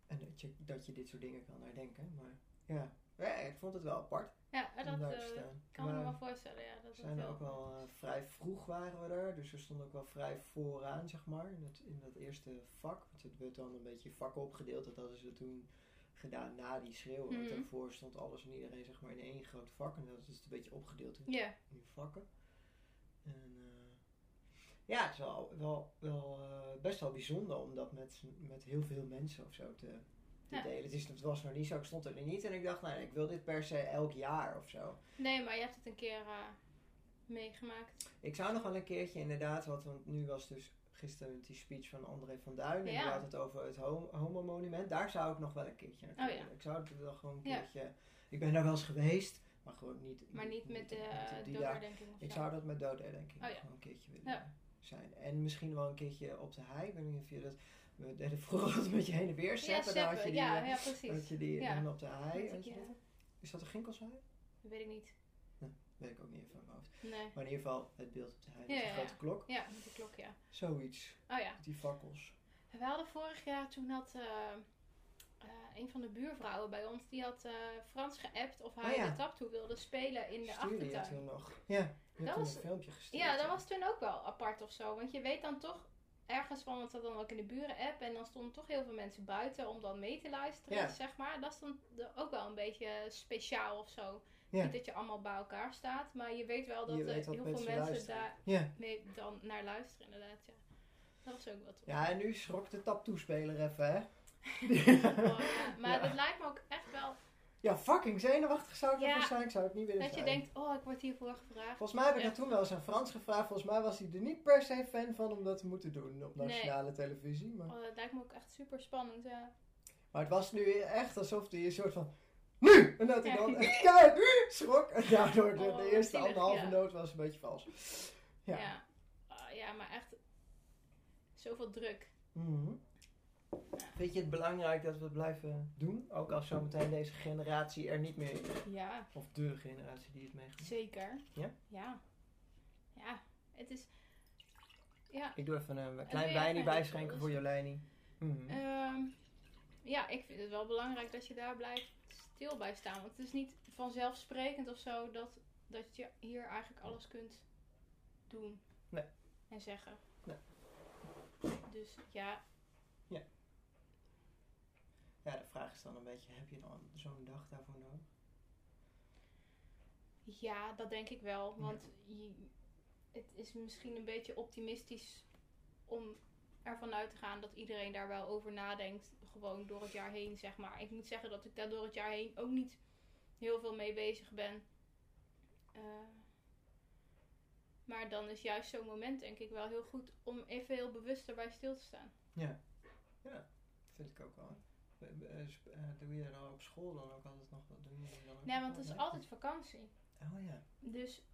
Speaker 1: en dat je, dat je dit soort dingen kan herdenken. Maar ja, ja ik vond het wel apart
Speaker 2: Ja,
Speaker 1: om
Speaker 2: dat
Speaker 1: daar te
Speaker 2: eh,
Speaker 1: staan.
Speaker 2: kan
Speaker 1: Maar-
Speaker 2: me wel voorstellen. Ja, dat
Speaker 1: We zijn
Speaker 2: dat
Speaker 1: er ook wel eh, vrij vroeg waren we er, dus we stonden ook wel vrij vooraan, zeg maar, in, het, in dat eerste vak. Want het werd dan een beetje vakken opgedeeld, dat hadden ze toen gedaan na die schreeuw. Want
Speaker 2: Mhm.
Speaker 1: daarvoor stond alles en iedereen, zeg maar, in één groot vak en dat is het een beetje opgedeeld in,
Speaker 2: Ja.
Speaker 1: in vakken. En, eh, Ja, het is wel, wel, wel eh, best wel bijzonder om dat met, met heel veel mensen of zo te, te
Speaker 2: Ja.
Speaker 1: delen. Het, is, het was nog niet zo, ik stond er niet en ik dacht, nou, ik wil dit per se elk jaar of zo.
Speaker 2: Nee, maar je hebt het een keer eh, meegemaakt.
Speaker 1: Ik zou nog wel een keertje inderdaad, wat, want nu was dus gisteren die speech van André van Duin. En
Speaker 2: Ja.
Speaker 1: die had het over het ho- homo-monument. Daar zou ik nog wel een keertje naartoe
Speaker 2: Oh ja.
Speaker 1: willen. Ik zou het wel gewoon een
Speaker 2: Ja.
Speaker 1: keertje... Ik ben daar wel eens geweest, maar gewoon niet...
Speaker 2: Maar niet met de eh,
Speaker 1: niet op die dag.
Speaker 2: doordenking of
Speaker 1: Ik
Speaker 2: zo.
Speaker 1: zou dat met dood denk ik
Speaker 2: Oh ja.
Speaker 1: gewoon een keertje willen
Speaker 2: Ja.
Speaker 1: zijn. En misschien wel een keertje op de hei. Ik weet niet of je dat... We deden vroeger altijd met je heen en weer
Speaker 2: ja,
Speaker 1: zeppen. daar had je
Speaker 2: zeppen.
Speaker 1: die,
Speaker 2: ja,
Speaker 1: eh,
Speaker 2: ja,
Speaker 1: had
Speaker 2: precies.
Speaker 1: je die
Speaker 2: Ja.
Speaker 1: en op de hei.
Speaker 2: Met
Speaker 1: en
Speaker 2: die,
Speaker 1: zo.
Speaker 2: eh,
Speaker 1: Is dat een Ginkelshei?
Speaker 2: dat weet ik niet.
Speaker 1: Weet ik ook niet even van mijn hoofd.
Speaker 2: Nee.
Speaker 1: Maar in ieder geval het beeld op de hei.
Speaker 2: Ja,
Speaker 1: met die
Speaker 2: ja, ja.
Speaker 1: grote klok.
Speaker 2: Ja, met die klok, ja.
Speaker 1: Zoiets.
Speaker 2: Oh ja.
Speaker 1: Met die fakkels.
Speaker 2: We hadden vorig jaar, toen had eh, eh, een van de buurvrouwen bij ons, die had eh, Frans geappt of hij
Speaker 1: Oh ja.
Speaker 2: de taptoe wilde spelen in de
Speaker 1: Stuurde je
Speaker 2: achtertuin.
Speaker 1: toen nog? Ja, je hebt
Speaker 2: Dat
Speaker 1: toen
Speaker 2: was-
Speaker 1: een filmpje gestuurd.
Speaker 2: Ja, dat was toen ook wel apart of zo. Want je weet dan toch ergens van, want dat dan ook in de buren-app. En dan stonden toch heel veel mensen buiten om dan mee te luisteren,
Speaker 1: Ja.
Speaker 2: zeg maar. Dat is dan de- ook wel een beetje speciaal of zo.
Speaker 1: Ja.
Speaker 2: Niet dat je allemaal bij elkaar staat, maar je weet wel dat
Speaker 1: Je
Speaker 2: er
Speaker 1: weet
Speaker 2: heel
Speaker 1: dat
Speaker 2: veel
Speaker 1: mensen
Speaker 2: mensen
Speaker 1: luisteren.
Speaker 2: daar
Speaker 1: Ja.
Speaker 2: mee dan naar luisteren, inderdaad. Ja. Dat was ook wat.
Speaker 1: Ja, en nu schrok de taptoespeler even, hè?
Speaker 2: Oh, maar
Speaker 1: Ja.
Speaker 2: het lijkt me ook echt wel
Speaker 1: ja, fucking zenuwachtig zou ik
Speaker 2: Ja.
Speaker 1: ervoor zijn. Ik zou het niet willen
Speaker 2: dat je
Speaker 1: zijn.
Speaker 2: denkt, oh, ik word hiervoor gevraagd.
Speaker 1: Volgens mij heb ik
Speaker 2: Ja.
Speaker 1: dat toen wel eens aan Frans gevraagd. Volgens mij was hij er niet per se fan van om dat te moeten doen op
Speaker 2: Nee.
Speaker 1: nationale televisie. Maar...
Speaker 2: Oh, dat lijkt me ook echt super spannend. Ja.
Speaker 1: maar het was nu echt alsof hij een soort van... Nu! En dat hij
Speaker 2: Ja.
Speaker 1: dan echt keihard "Nu!" schrok. En daardoor de,
Speaker 2: Oh,
Speaker 1: de
Speaker 2: wat
Speaker 1: eerste
Speaker 2: zielig,
Speaker 1: anderhalve
Speaker 2: ja.
Speaker 1: noot was een beetje vals. Ja.
Speaker 2: Ja. Ja. Ah, ja, maar echt zoveel druk.
Speaker 1: Mhm. Vind je het belangrijk dat we het blijven doen? Ook als zometeen deze generatie er niet meer is.
Speaker 2: Ja.
Speaker 1: Of de generatie die het meegaat.
Speaker 2: Zeker.
Speaker 1: Ja?
Speaker 2: Ja. Ja, het is... Ja,
Speaker 1: Ik doe even een
Speaker 2: doe
Speaker 1: klein
Speaker 2: je even
Speaker 1: wijnie
Speaker 2: een-
Speaker 1: bijschenken voor Jolijnie. Mhm.
Speaker 2: ehm, ja, ik vind het wel belangrijk dat je daar blijft stil bij staan. Want het is niet vanzelfsprekend of zo dat, dat je hier eigenlijk alles kunt doen.
Speaker 1: Nee.
Speaker 2: En zeggen.
Speaker 1: Nee.
Speaker 2: Dus ja,
Speaker 1: Ja, de vraag is dan een beetje, heb je dan zo'n dag daarvoor nodig?
Speaker 2: ja, dat denk ik wel. Want je, het is misschien een beetje optimistisch om ervan uit te gaan dat iedereen daar wel over nadenkt. Gewoon door het jaar heen, zeg maar. Ik moet zeggen dat ik daar door het jaar heen ook niet heel veel mee bezig ben. Eh, maar dan is juist zo'n moment, denk ik, wel heel goed om even heel bewust erbij stil te staan.
Speaker 1: Vind ik ook wel. Eh, eh, sp- eh, Doe je er dan op school dan ook altijd nog wat? Doen jullie dan ook
Speaker 2: Nee,
Speaker 1: nog
Speaker 2: want
Speaker 1: wat?
Speaker 2: het is altijd vakantie.
Speaker 1: Oh ja.
Speaker 2: Dus,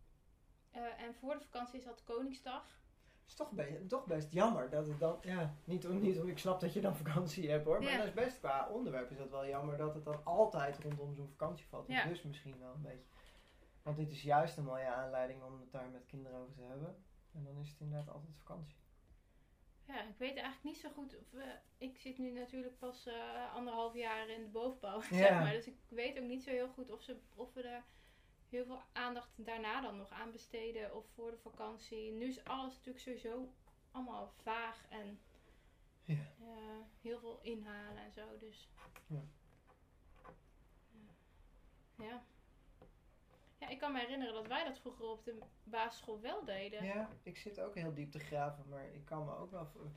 Speaker 2: eh, en voor de vakantie is dat Koningsdag.
Speaker 1: is toch, be- toch best jammer dat het dan... Ja, niet om, niet om... Ik snap dat je dan vakantie hebt hoor. Maar
Speaker 2: Ja.
Speaker 1: dat is best qua onderwerp is dat wel jammer dat het dan altijd rondom zo'n vakantie valt.
Speaker 2: Ja.
Speaker 1: Dus misschien wel een beetje. Want dit is juist een mooie aanleiding om het daar met kinderen over te hebben. En dan is het inderdaad altijd vakantie.
Speaker 2: Ja, ik weet eigenlijk niet zo goed. Of, eh, ik zit nu natuurlijk pas eh, anderhalf jaar in de bovenbouw, zeg
Speaker 1: Ja.
Speaker 2: maar. Dus ik weet ook niet zo heel goed of, ze, of we daar heel veel aandacht daarna dan nog aan besteden. Of voor de vakantie. Nu is alles natuurlijk sowieso allemaal vaag en
Speaker 1: Ja.
Speaker 2: eh, heel veel inhalen en zo. Dus.
Speaker 1: Ja.
Speaker 2: Ja. Ja, ik kan me herinneren dat wij dat vroeger op de basisschool wel deden.
Speaker 1: Ja, ik zit ook heel diep te graven, maar ik kan me ook wel. voor-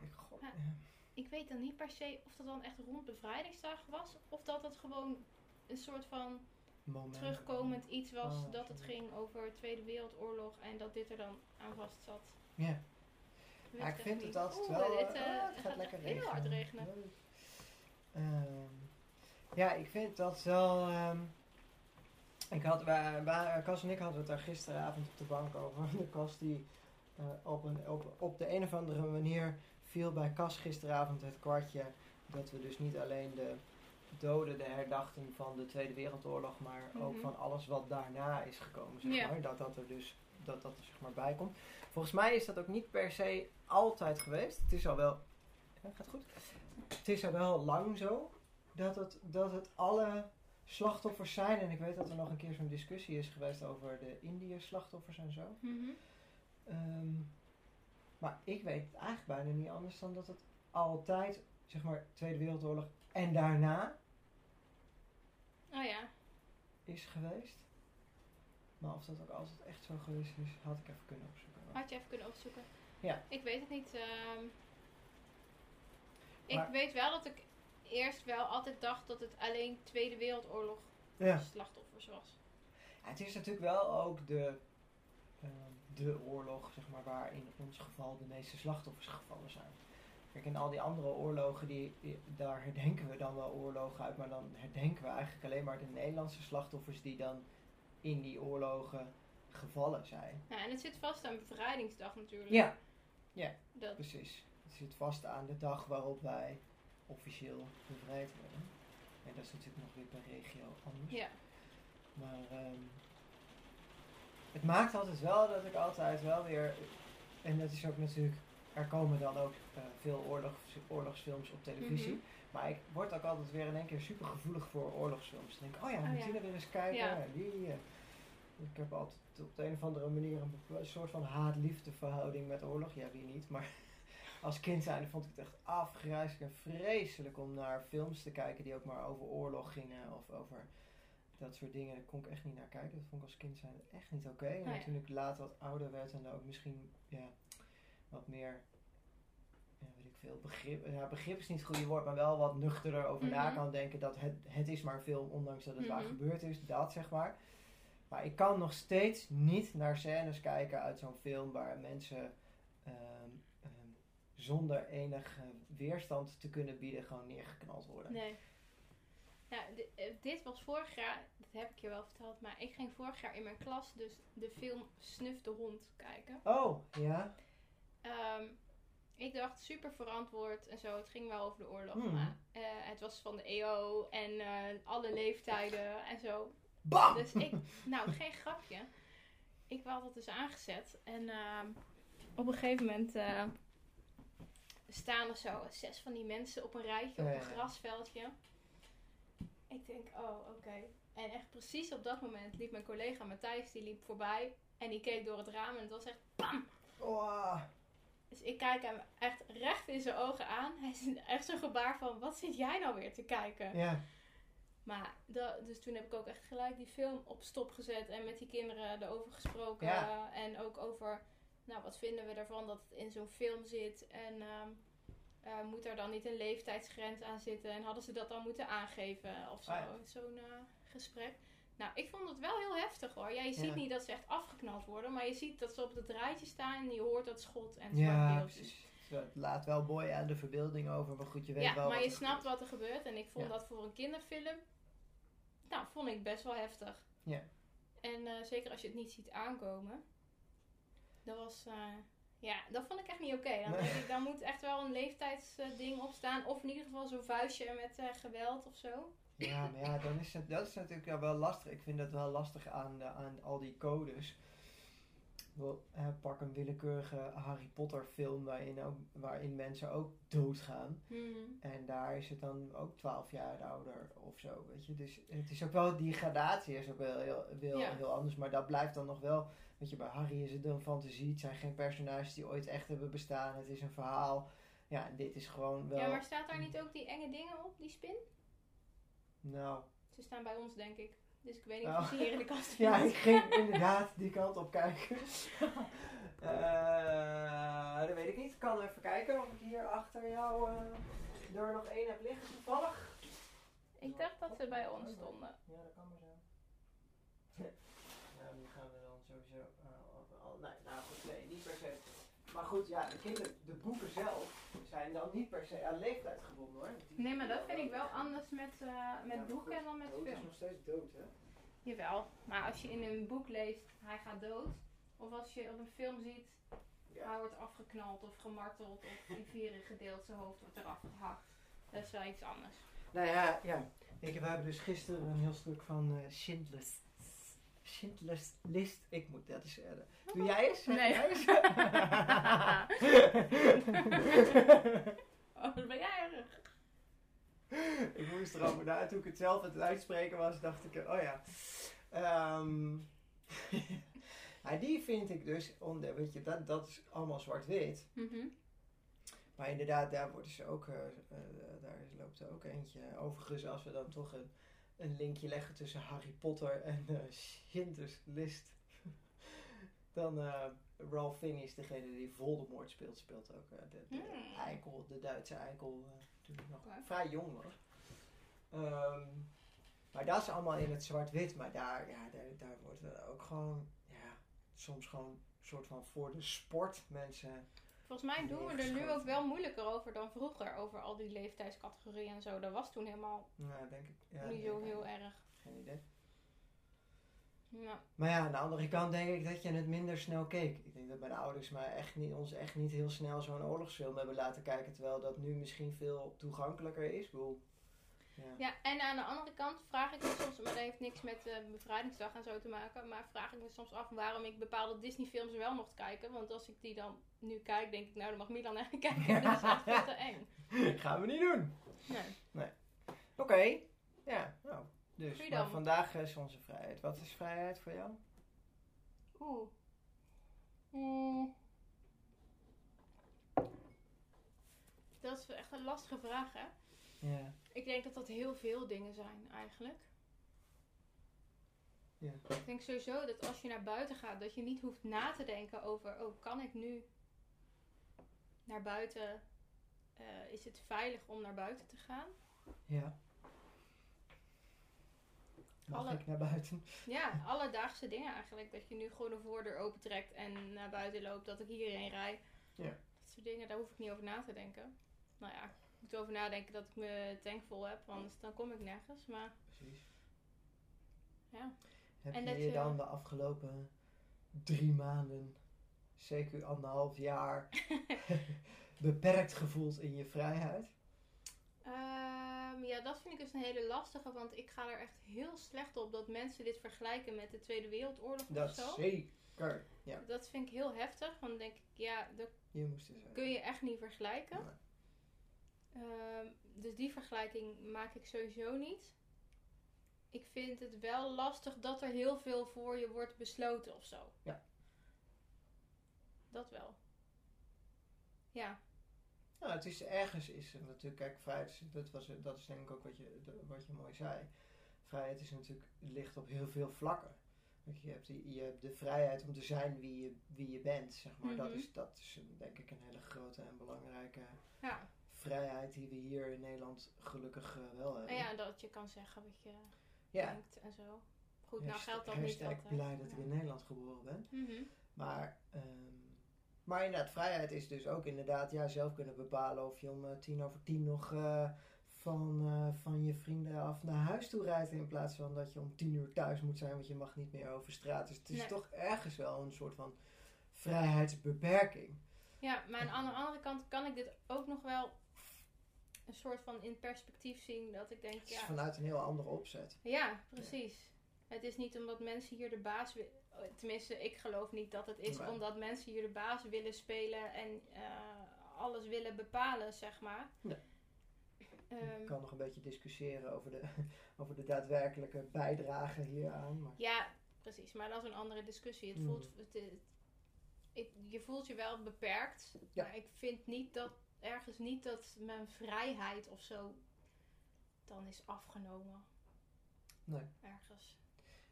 Speaker 1: Ik, god, eh,
Speaker 2: Ja.
Speaker 1: ja.
Speaker 2: Ik weet dan niet per se of dat dan echt rond bevrijdingsdag was. Of dat het gewoon een soort van
Speaker 1: moment.
Speaker 2: terugkomend iets was.
Speaker 1: Oh,
Speaker 2: dat het
Speaker 1: sorry.
Speaker 2: ging over Tweede Wereldoorlog en dat dit er dan aan vast zat.
Speaker 1: Ja.
Speaker 2: Ik weet
Speaker 1: Ja, ik
Speaker 2: echt
Speaker 1: vind
Speaker 2: niet.
Speaker 1: het altijd
Speaker 2: Oeh,
Speaker 1: wel. eh,
Speaker 2: dit, eh,
Speaker 1: ah,
Speaker 2: het
Speaker 1: het gaat
Speaker 2: gaat
Speaker 1: lekker
Speaker 2: echt heel
Speaker 1: regenen.
Speaker 2: hard regenen.
Speaker 1: Leuk. Ehm, ja, ik vind dat wel. ehm, ik had, wij, wij- Cas en ik hadden het daar gisteravond op de bank over. De Cas die eh, op, een, op, op de een of andere manier viel bij Cas gisteravond het kwartje. Dat we dus niet alleen de doden, de herdachten van de Tweede Wereldoorlog, maar ook
Speaker 2: Mhm.
Speaker 1: van alles wat daarna is gekomen. Zeg
Speaker 2: Ja.
Speaker 1: maar. Dat dat er dus dat dat er zeg maar bij komt. Volgens mij is dat ook niet per se altijd geweest. Het is al wel. Ja, gaat goed. Het is al wel lang zo dat het, dat het alle slachtoffers zijn. En ik weet dat er nog een keer zo'n discussie is geweest over de Indiërs slachtoffers en zo.
Speaker 2: Mhm.
Speaker 1: Ehm, maar ik weet het eigenlijk bijna niet anders dan dat het altijd, zeg maar, Tweede Wereldoorlog en daarna
Speaker 2: Oh ja.
Speaker 1: is geweest. Maar of dat ook altijd echt zo geweest is, had ik even kunnen opzoeken. Maar-
Speaker 2: Had je even kunnen opzoeken?
Speaker 1: Ja.
Speaker 2: Ik weet het niet. ehm. ik
Speaker 1: Maar-
Speaker 2: weet wel dat ik eerst wel altijd dacht dat het alleen Tweede Wereldoorlog
Speaker 1: Ja.
Speaker 2: slachtoffers was.
Speaker 1: Ja, Het is natuurlijk wel ook de, eh, de oorlog, zeg maar, waar in ons geval de meeste slachtoffers gevallen zijn. Kijk, in al die andere oorlogen, die, die- daar herdenken we dan wel oorlogen uit, maar dan herdenken we eigenlijk alleen maar de Nederlandse slachtoffers die dan in die oorlogen gevallen zijn.
Speaker 2: Ja, Nou, en het zit vast aan Bevrijdingsdag natuurlijk.
Speaker 1: Ja,
Speaker 2: Dat,
Speaker 1: precies. Het zit vast aan de dag waarop wij officieel bevrijd worden. En dat is natuurlijk nog weer per regio anders.
Speaker 2: ja.
Speaker 1: Maar ehm, het maakt altijd wel dat ik altijd wel weer. En dat is ook natuurlijk. Er komen dan ook eh, veel oorlogs, oorlogsfilms op televisie.
Speaker 2: Mhm.
Speaker 1: Maar ik word ook altijd weer in één keer super gevoelig voor oorlogsfilms. Dan denk ik, oh ja,
Speaker 2: Oh
Speaker 1: moet
Speaker 2: ja.
Speaker 1: je er weer eens kijken.
Speaker 2: Ja.
Speaker 1: en die, eh. ik heb altijd op de een of andere manier een bepa- soort van haat-liefde verhouding met oorlog. Ja, wie niet. Maar als kind zijnde vond ik het echt afgrijzelijk en vreselijk om naar films te kijken die ook maar over oorlog gingen of over dat soort dingen. Daar kon ik echt niet naar kijken. Dat vond ik als kind zijn echt niet oké. En
Speaker 2: Nou ja.
Speaker 1: toen ik later wat ouder werd en daar ook misschien ja, wat meer, ja, weet ik veel, begrip. Ja, begrip is niet het goede woord, maar wel wat nuchterder over na
Speaker 2: Mhm.
Speaker 1: kan denken. Dat het, het is maar een film, ondanks dat het waar
Speaker 2: Mhm.
Speaker 1: gebeurd is. Dat zeg maar. Maar ik kan nog steeds niet naar scènes kijken uit zo'n film waar mensen ehm, ehm, zonder enige weerstand te kunnen bieden gewoon neergeknald worden.
Speaker 2: Nee. Ja, di- eh, dit was vorig jaar, dat heb ik je wel verteld, maar ik ging vorig jaar in mijn klas dus de film Snuf de Hond kijken.
Speaker 1: Oh, ja.
Speaker 2: Ehm, ik dacht super verantwoord en zo. Het ging wel over de oorlog.
Speaker 1: Hmm.
Speaker 2: Maar eh, het was van de EO en eh, alle leeftijden en zo.
Speaker 1: Bam!
Speaker 2: Dus ik, nou geen grapje. Ik had dat dus aangezet. En ehm, op een gegeven moment eh, staan er zo zes van die mensen op een rijtje op
Speaker 1: Ja,
Speaker 2: een
Speaker 1: ja, ja.
Speaker 2: grasveldje. Ik denk, oh oké. En echt precies op dat moment liep mijn collega Matthijs, die liep voorbij. En die keek door het raam en het was echt bam!
Speaker 1: Oh,
Speaker 2: Dus ik kijk hem echt recht in zijn ogen aan. Hij is echt zo'n gebaar van, wat zit jij nou weer te kijken?
Speaker 1: ja.
Speaker 2: Maar, da- dus toen heb ik ook echt gelijk die film op stop gezet en met die kinderen erover gesproken.
Speaker 1: Ja.
Speaker 2: eh, en ook over, nou wat vinden we ervan dat het in zo'n film zit en ehm, eh, moet er dan niet een leeftijdsgrens aan zitten en hadden ze dat dan moeten aangeven of zo,
Speaker 1: Ah ja.
Speaker 2: zo'n eh, gesprek. Nou, ik vond het wel heel heftig hoor. Ja, je ziet
Speaker 1: Ja.
Speaker 2: niet dat ze echt afgeknald worden, maar je ziet dat ze op het draadje staan en je hoort dat schot en
Speaker 1: Ja,
Speaker 2: zwart beeld.
Speaker 1: precies. Dus Het laat wel mooi aan de verbeelding over, maar goed, je weet
Speaker 2: Ja,
Speaker 1: wel.
Speaker 2: maar
Speaker 1: wat
Speaker 2: je
Speaker 1: er
Speaker 2: snapt wat er gebeurt. En ik vond
Speaker 1: Ja.
Speaker 2: dat voor een kinderfilm, nou, vond ik best wel heftig.
Speaker 1: Ja.
Speaker 2: En eh, zeker als je het niet ziet aankomen. Dat was, eh, ja, dat vond ik echt niet oké. Dan
Speaker 1: Nee.
Speaker 2: denk ik, dan moet echt wel een leeftijdsding op opstaan. Of in ieder geval zo'n vuistje met eh, geweld of zo.
Speaker 1: gebeurt. Ja, maar ja, dan is het, dat is natuurlijk wel- wel lastig. Ik vind dat wel lastig aan, de- aan al die codes. Ik bedoel, eh, pak een willekeurige Harry Potter film waarin, ook, waarin mensen ook doodgaan.
Speaker 2: Hmm.
Speaker 1: En daar is het dan ook 12 jaar ouder of zo, weet je. Dus het is ook wel, die gradatie is ook wel heel, heel,
Speaker 2: Ja.
Speaker 1: heel anders. Maar dat blijft dan nog wel, weet je, bij Harry is het een fantasie. Het zijn geen personages die ooit echt hebben bestaan. Het is een verhaal. Ja, en dit is gewoon wel,
Speaker 2: Ja, maar staat daar niet ook die enge dingen op, die spin?
Speaker 1: nou...
Speaker 2: Ze staan bij ons, denk ik. Dus ik weet niet
Speaker 1: Oh.
Speaker 2: of je ze hier in de kast
Speaker 1: Ja,
Speaker 2: vindt.
Speaker 1: ik ging inderdaad die kant op kijken. Eh, dat weet ik niet. Ik kan even kijken of ik hier achter jou eh er nog één heb liggen toevallig.
Speaker 2: Ik dacht dat ze bij ons stonden.
Speaker 1: Ja, dat kan maar zo. nou, die gaan we dan sowieso. eh, al- al- nee, nou goed, nee, niet per se. Maar goed, ja, de, kinder, de boeken zelf zijn dan niet per se aan leeftijd gebonden hoor. Die-
Speaker 2: Nee, maar dat vind ik wel anders met, eh,
Speaker 1: Ja,
Speaker 2: met
Speaker 1: maar
Speaker 2: boeken
Speaker 1: goed,
Speaker 2: dan met
Speaker 1: Dood is
Speaker 2: film.
Speaker 1: nog steeds dood, hè?
Speaker 2: Jawel, maar als je in een boek leest, hij gaat dood. Of als je op een film ziet, hij
Speaker 1: Ja.
Speaker 2: wordt afgeknald of gemarteld of in vieren gedeeld, zijn hoofd wordt eraf gehakt. Dat is wel iets anders.
Speaker 1: Nou ja, ja. Ik, we hebben dus gisteren een heel stuk van eh Schindler's. Schindler's List. Ik moet dat eens redden. Doe jij eens?
Speaker 2: Nee.
Speaker 1: Jij eens?
Speaker 2: Oh, dat ben jij erg.
Speaker 1: ik moest erover na. Toen ik het zelf aan het uitspreken was, dacht ik, oh ja. Ehm, maar die vind ik dus, onder, weet je, dat, dat is allemaal zwart-wit. Maar inderdaad, daar worden ze ook, eh, eh, daar loopt er ook eentje. Overigens, als we dan toch een een linkje leggen tussen Harry Potter en eh Schindler's List. Dan eh, Ralph Fiennes is degene die Voldemort speelt, speelt ook eh, de, de
Speaker 2: Hmm.
Speaker 1: eikel, de Duitse eikel, eh, toen hij nog
Speaker 2: Oké.
Speaker 1: vrij jong was. Ehm, maar dat is allemaal in het zwart-wit, maar daar, ja, daar, daar wordt wel ook gewoon, ja, soms gewoon een soort van voor de sport mensen.
Speaker 2: Volgens mij doen we er nu
Speaker 1: Neergeschoten. ook
Speaker 2: ook
Speaker 1: wel
Speaker 2: wel moeilijker over dan vroeger. Over al die leeftijdscategorieën en zo. Dat was toen helemaal
Speaker 1: Ja, nou, denk ik.
Speaker 2: niet
Speaker 1: Ja, denk
Speaker 2: zo
Speaker 1: ik
Speaker 2: heel
Speaker 1: eigenlijk.
Speaker 2: erg.
Speaker 1: Geen idee. Maar ja, aan de andere kant denk ik dat je het minder snel keek. Ik denk dat mijn ouders maar echt niet, ons echt niet heel snel zo'n oorlogsfilm hebben laten kijken. Terwijl dat nu misschien veel toegankelijker is. Ik bedoel, ja.
Speaker 2: Ja, en aan de andere kant vraag ik me soms, maar dat heeft niks met eh, bevrijdingsdag en zo te maken, maar vraag ik me soms af waarom ik bepaalde Disney-films wel mocht kijken. Want als ik die dan nu kijk, denk ik, nou, dan mag Milan eigenlijk kijken. Dat is echt veel te eng.
Speaker 1: gaan we niet doen.
Speaker 2: Nee.
Speaker 1: Oké, ja, nou. Dus,
Speaker 2: Freedom.
Speaker 1: maar vandaag is onze vrijheid. Wat is vrijheid voor jou?
Speaker 2: Oeh. Mm. Dat is echt een lastige vraag, hè?
Speaker 1: Ja.
Speaker 2: Ik denk dat dat heel veel dingen zijn eigenlijk.
Speaker 1: Ja.
Speaker 2: Ik denk sowieso dat als je naar buiten gaat, dat je niet hoeft na te denken over, oh, kan ik nu naar buiten? Eh, is het veilig om naar buiten te gaan?
Speaker 1: Ja. Mag
Speaker 2: Alle-
Speaker 1: ik naar buiten?
Speaker 2: Ja, alledaagse dingen eigenlijk. Dat je nu gewoon een voordeur opentrekt en naar buiten loopt, dat ik hierheen rijd.
Speaker 1: Ja.
Speaker 2: Dat soort dingen, daar hoef ik niet over na te denken. Nou ja, ik moet over nadenken dat ik mijn tank vol heb, anders dan kom ik nergens. Maar
Speaker 1: Precies.
Speaker 2: Ja.
Speaker 1: Heb
Speaker 2: En
Speaker 1: je
Speaker 2: dat
Speaker 1: je
Speaker 2: je-
Speaker 1: dan de afgelopen drie maanden, zeker anderhalf jaar, beperkt gevoeld in je vrijheid?
Speaker 2: Ehm, ja, dat vind ik dus een hele lastige, want ik ga er echt heel slecht op dat mensen dit vergelijken met de Tweede Wereldoorlog
Speaker 1: Dat
Speaker 2: of zo.
Speaker 1: zeker. Ja,
Speaker 2: Dat vind ik heel heftig, want dan denk ik, ja, dat
Speaker 1: je moest er zijn.
Speaker 2: kun je echt niet vergelijken. Ehm, dus die vergelijking maak ik sowieso niet. Ik vind het wel lastig dat er heel veel voor je wordt besloten of zo.
Speaker 1: Ja.
Speaker 2: Dat wel. Ja,
Speaker 1: Nou, het is ergens is het natuurlijk, kijk, vrijheid, is- dat, was, dat is denk ik ook wat je, de- wat je mooi zei. Vrijheid is natuurlijk, ligt op heel veel vlakken. Want je, hebt die, je hebt de vrijheid om te zijn wie je, wie je bent, zeg maar. Dat
Speaker 2: Mhm.
Speaker 1: is, dat is een- denk ik een hele grote en belangrijke
Speaker 2: ja.
Speaker 1: vrijheid die we hier in Nederland gelukkig eh, wel
Speaker 2: En
Speaker 1: hebben.
Speaker 2: nou ja, dat je kan zeggen wat je
Speaker 1: ja.
Speaker 2: denkt en zo. Goed, nou geldt dat niet
Speaker 1: hashtag
Speaker 2: altijd.
Speaker 1: blij dat ik
Speaker 2: Ja.
Speaker 1: in Nederland geboren ben.
Speaker 2: Mhm.
Speaker 1: Maar, ehm, maar inderdaad, vrijheid is dus ook inderdaad ja, zelf kunnen bepalen of je om eh, tien over tien nog eh, van, eh, van je vrienden af naar huis toe rijdt. In plaats van dat je om tien uur thuis moet zijn, want je mag niet meer over straat. Dus het is
Speaker 2: Nee.
Speaker 1: toch ergens wel een soort van vrijheidsbeperking.
Speaker 2: Ja, maar aan de andere kant kan ik dit ook nog wel een soort van in perspectief zien. Dat ik denk,
Speaker 1: Het is
Speaker 2: ja,
Speaker 1: vanuit een heel andere opzet.
Speaker 2: ja precies. Het is niet omdat mensen hier de baas willen. Tenminste, ik geloof niet dat het is
Speaker 1: Nee.
Speaker 2: omdat mensen hier de baas willen spelen en eh, alles willen bepalen, zeg maar.
Speaker 1: Nee.
Speaker 2: Ehm,
Speaker 1: Ik kan nog een beetje discussiëren over de, over de daadwerkelijke bijdrage hieraan. Maar
Speaker 2: Ja, precies. Maar dat is een andere discussie. Het
Speaker 1: Mm.
Speaker 2: voelt, het, het- ik, je voelt je wel beperkt.
Speaker 1: Ja.
Speaker 2: Maar ik vind niet dat ergens niet dat mijn vrijheid of zo dan is afgenomen.
Speaker 1: Nee.
Speaker 2: Ergens.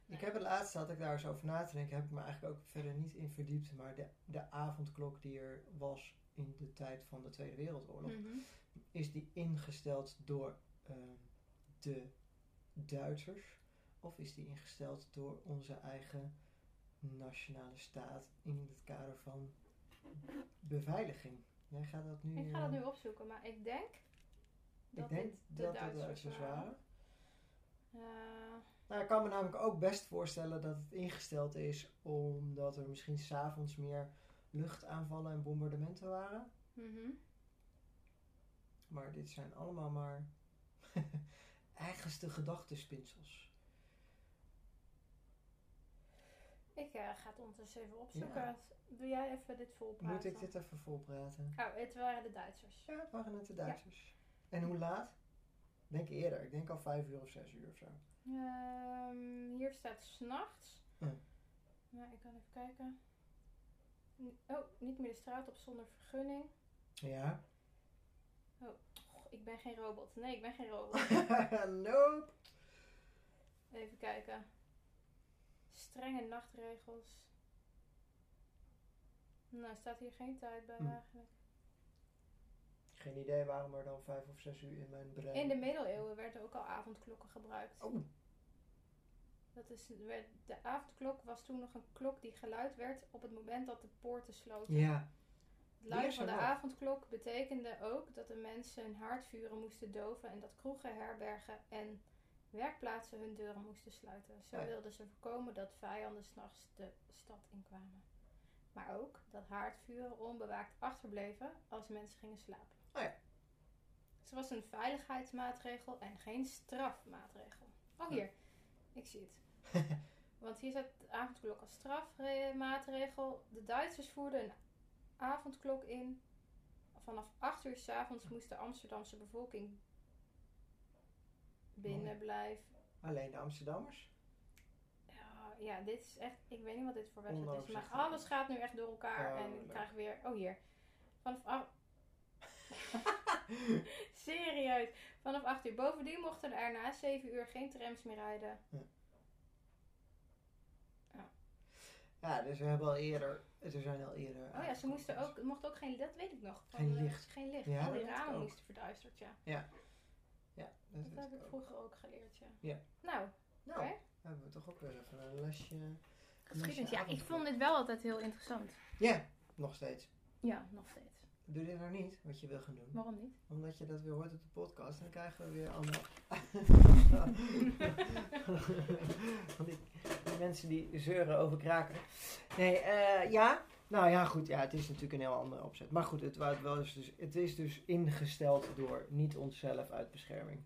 Speaker 1: Ik heb het laatst, had ik daar eens over na te denken, heb ik me eigenlijk ook verder niet in verdiept. Maar de, de avondklok die er was in de tijd van de Tweede Wereldoorlog,
Speaker 2: Mhm.
Speaker 1: is die ingesteld door ehm, de Duitsers? Of is die ingesteld door onze eigen nationale staat in het kader van beveiliging? Jij gaat dat nu...
Speaker 2: Ik ga dat
Speaker 1: eh,
Speaker 2: nu opzoeken, maar ik denk dat
Speaker 1: ik denk
Speaker 2: dit de
Speaker 1: dat het
Speaker 2: Duitsers
Speaker 1: Duitsers
Speaker 2: waren.
Speaker 1: waren.
Speaker 2: Eh,
Speaker 1: Nou, ik kan me namelijk ook best voorstellen dat het ingesteld is omdat er misschien s'avonds meer luchtaanvallen en bombardementen waren.
Speaker 2: mhm.
Speaker 1: Maar dit zijn allemaal maar eigenste gedachtenspinsels.
Speaker 2: Ik eh, ga het ondertussen even opzoeken. Doe jij even dit volpraten?
Speaker 1: Moet ik dit even volpraten?
Speaker 2: Oh, het waren de Duitsers.
Speaker 1: Ja, het waren het de Duitsers. En hoe laat? Ik denk eerder. Ik denk al vijf uur of zes uur of zo.
Speaker 2: Ehm, hier staat s'nachts.
Speaker 1: Ja.
Speaker 2: Maar ik kan even kijken. N- Oh, niet meer de straat op zonder vergunning.
Speaker 1: Ja.
Speaker 2: Och, ik ben geen robot. Nee, ik ben geen robot.
Speaker 1: nope.
Speaker 2: Even kijken. Strenge nachtregels. Nou, staat hier geen tijd bij
Speaker 1: Hm.
Speaker 2: eigenlijk.
Speaker 1: Geen idee waarom er dan vijf of zes uur in mijn brein...
Speaker 2: In de middeleeuwen werden ook al avondklokken gebruikt.
Speaker 1: Oh,
Speaker 2: Dat is, werd- de avondklok was toen nog een klok die geluid werd op het moment dat de poorten sloten.
Speaker 1: ja.
Speaker 2: Het luiden
Speaker 1: Leerzaam
Speaker 2: van de
Speaker 1: ook.
Speaker 2: avondklok betekende ook dat de mensen hun haardvuren moesten doven en dat kroegen, herbergen en werkplaatsen hun deuren moesten sluiten. Zo
Speaker 1: Oh ja.
Speaker 2: wilden ze voorkomen dat vijanden s'nachts de stad inkwamen. Maar ook dat haardvuren onbewaakt achterbleven als mensen gingen slapen.
Speaker 1: Oh ja.
Speaker 2: Dus het was een veiligheidsmaatregel en geen strafmaatregel. Oh,
Speaker 1: Ja.
Speaker 2: hier. Ik zie het. Want hier staat de avondklok als strafmaatregel. De Duitsers voerden een avondklok in. Vanaf 8 uur 's avonds moest de Amsterdamse bevolking binnen blijven.
Speaker 1: Alleen de Amsterdammers?
Speaker 2: Ja, Ja, dit is echt. Ik weet niet wat dit voor wedstrijd is. Maar
Speaker 1: Onoverzichtelijk.
Speaker 2: alles gaat nu echt door elkaar.
Speaker 1: Oh,
Speaker 2: en ik
Speaker 1: leuk.
Speaker 2: krijg weer. Oh, hier. Vanaf 8. Serieus. Vanaf 8 uur. Bovendien mochten er na 7 uur geen trams meer rijden.
Speaker 1: Ja, dus we hebben al eerder... Er zijn al eerder...
Speaker 2: Oh ja, ze moesten ook, er mocht ook geen, dat weet ik nog. Van,
Speaker 1: Geen
Speaker 2: eh,
Speaker 1: licht.
Speaker 2: Geen licht.
Speaker 1: Ja,
Speaker 2: Al die
Speaker 1: dat had ik
Speaker 2: ramen
Speaker 1: ook.
Speaker 2: moesten verduisterd, ja.
Speaker 1: Ja, dat,
Speaker 2: Dat,
Speaker 1: weet
Speaker 2: heb
Speaker 1: ik
Speaker 2: ik
Speaker 1: ook.
Speaker 2: vroeger ook geleerd, ja.
Speaker 1: Ja.
Speaker 2: Nou,
Speaker 1: Nou,
Speaker 2: Oké.
Speaker 1: hebben we toch ook weer even een lesje...
Speaker 2: geschiedenis.
Speaker 1: je
Speaker 2: Ja, ik vond dit wel altijd heel interessant.
Speaker 1: Ja, nog steeds.
Speaker 2: Ja, nog steeds.
Speaker 1: Doe dit nou niet, wat je wil gaan doen.
Speaker 2: Waarom niet?
Speaker 1: Omdat je dat weer hoort op de podcast, dan krijgen we weer allemaal. Want die, die mensen die zeuren over kraken. Nee, eh, ja. Nou ja, goed. Ja, het is natuurlijk een heel andere opzet. Maar goed, het, wa- wel is dus, het is dus ingesteld door niet onszelf uit bescherming.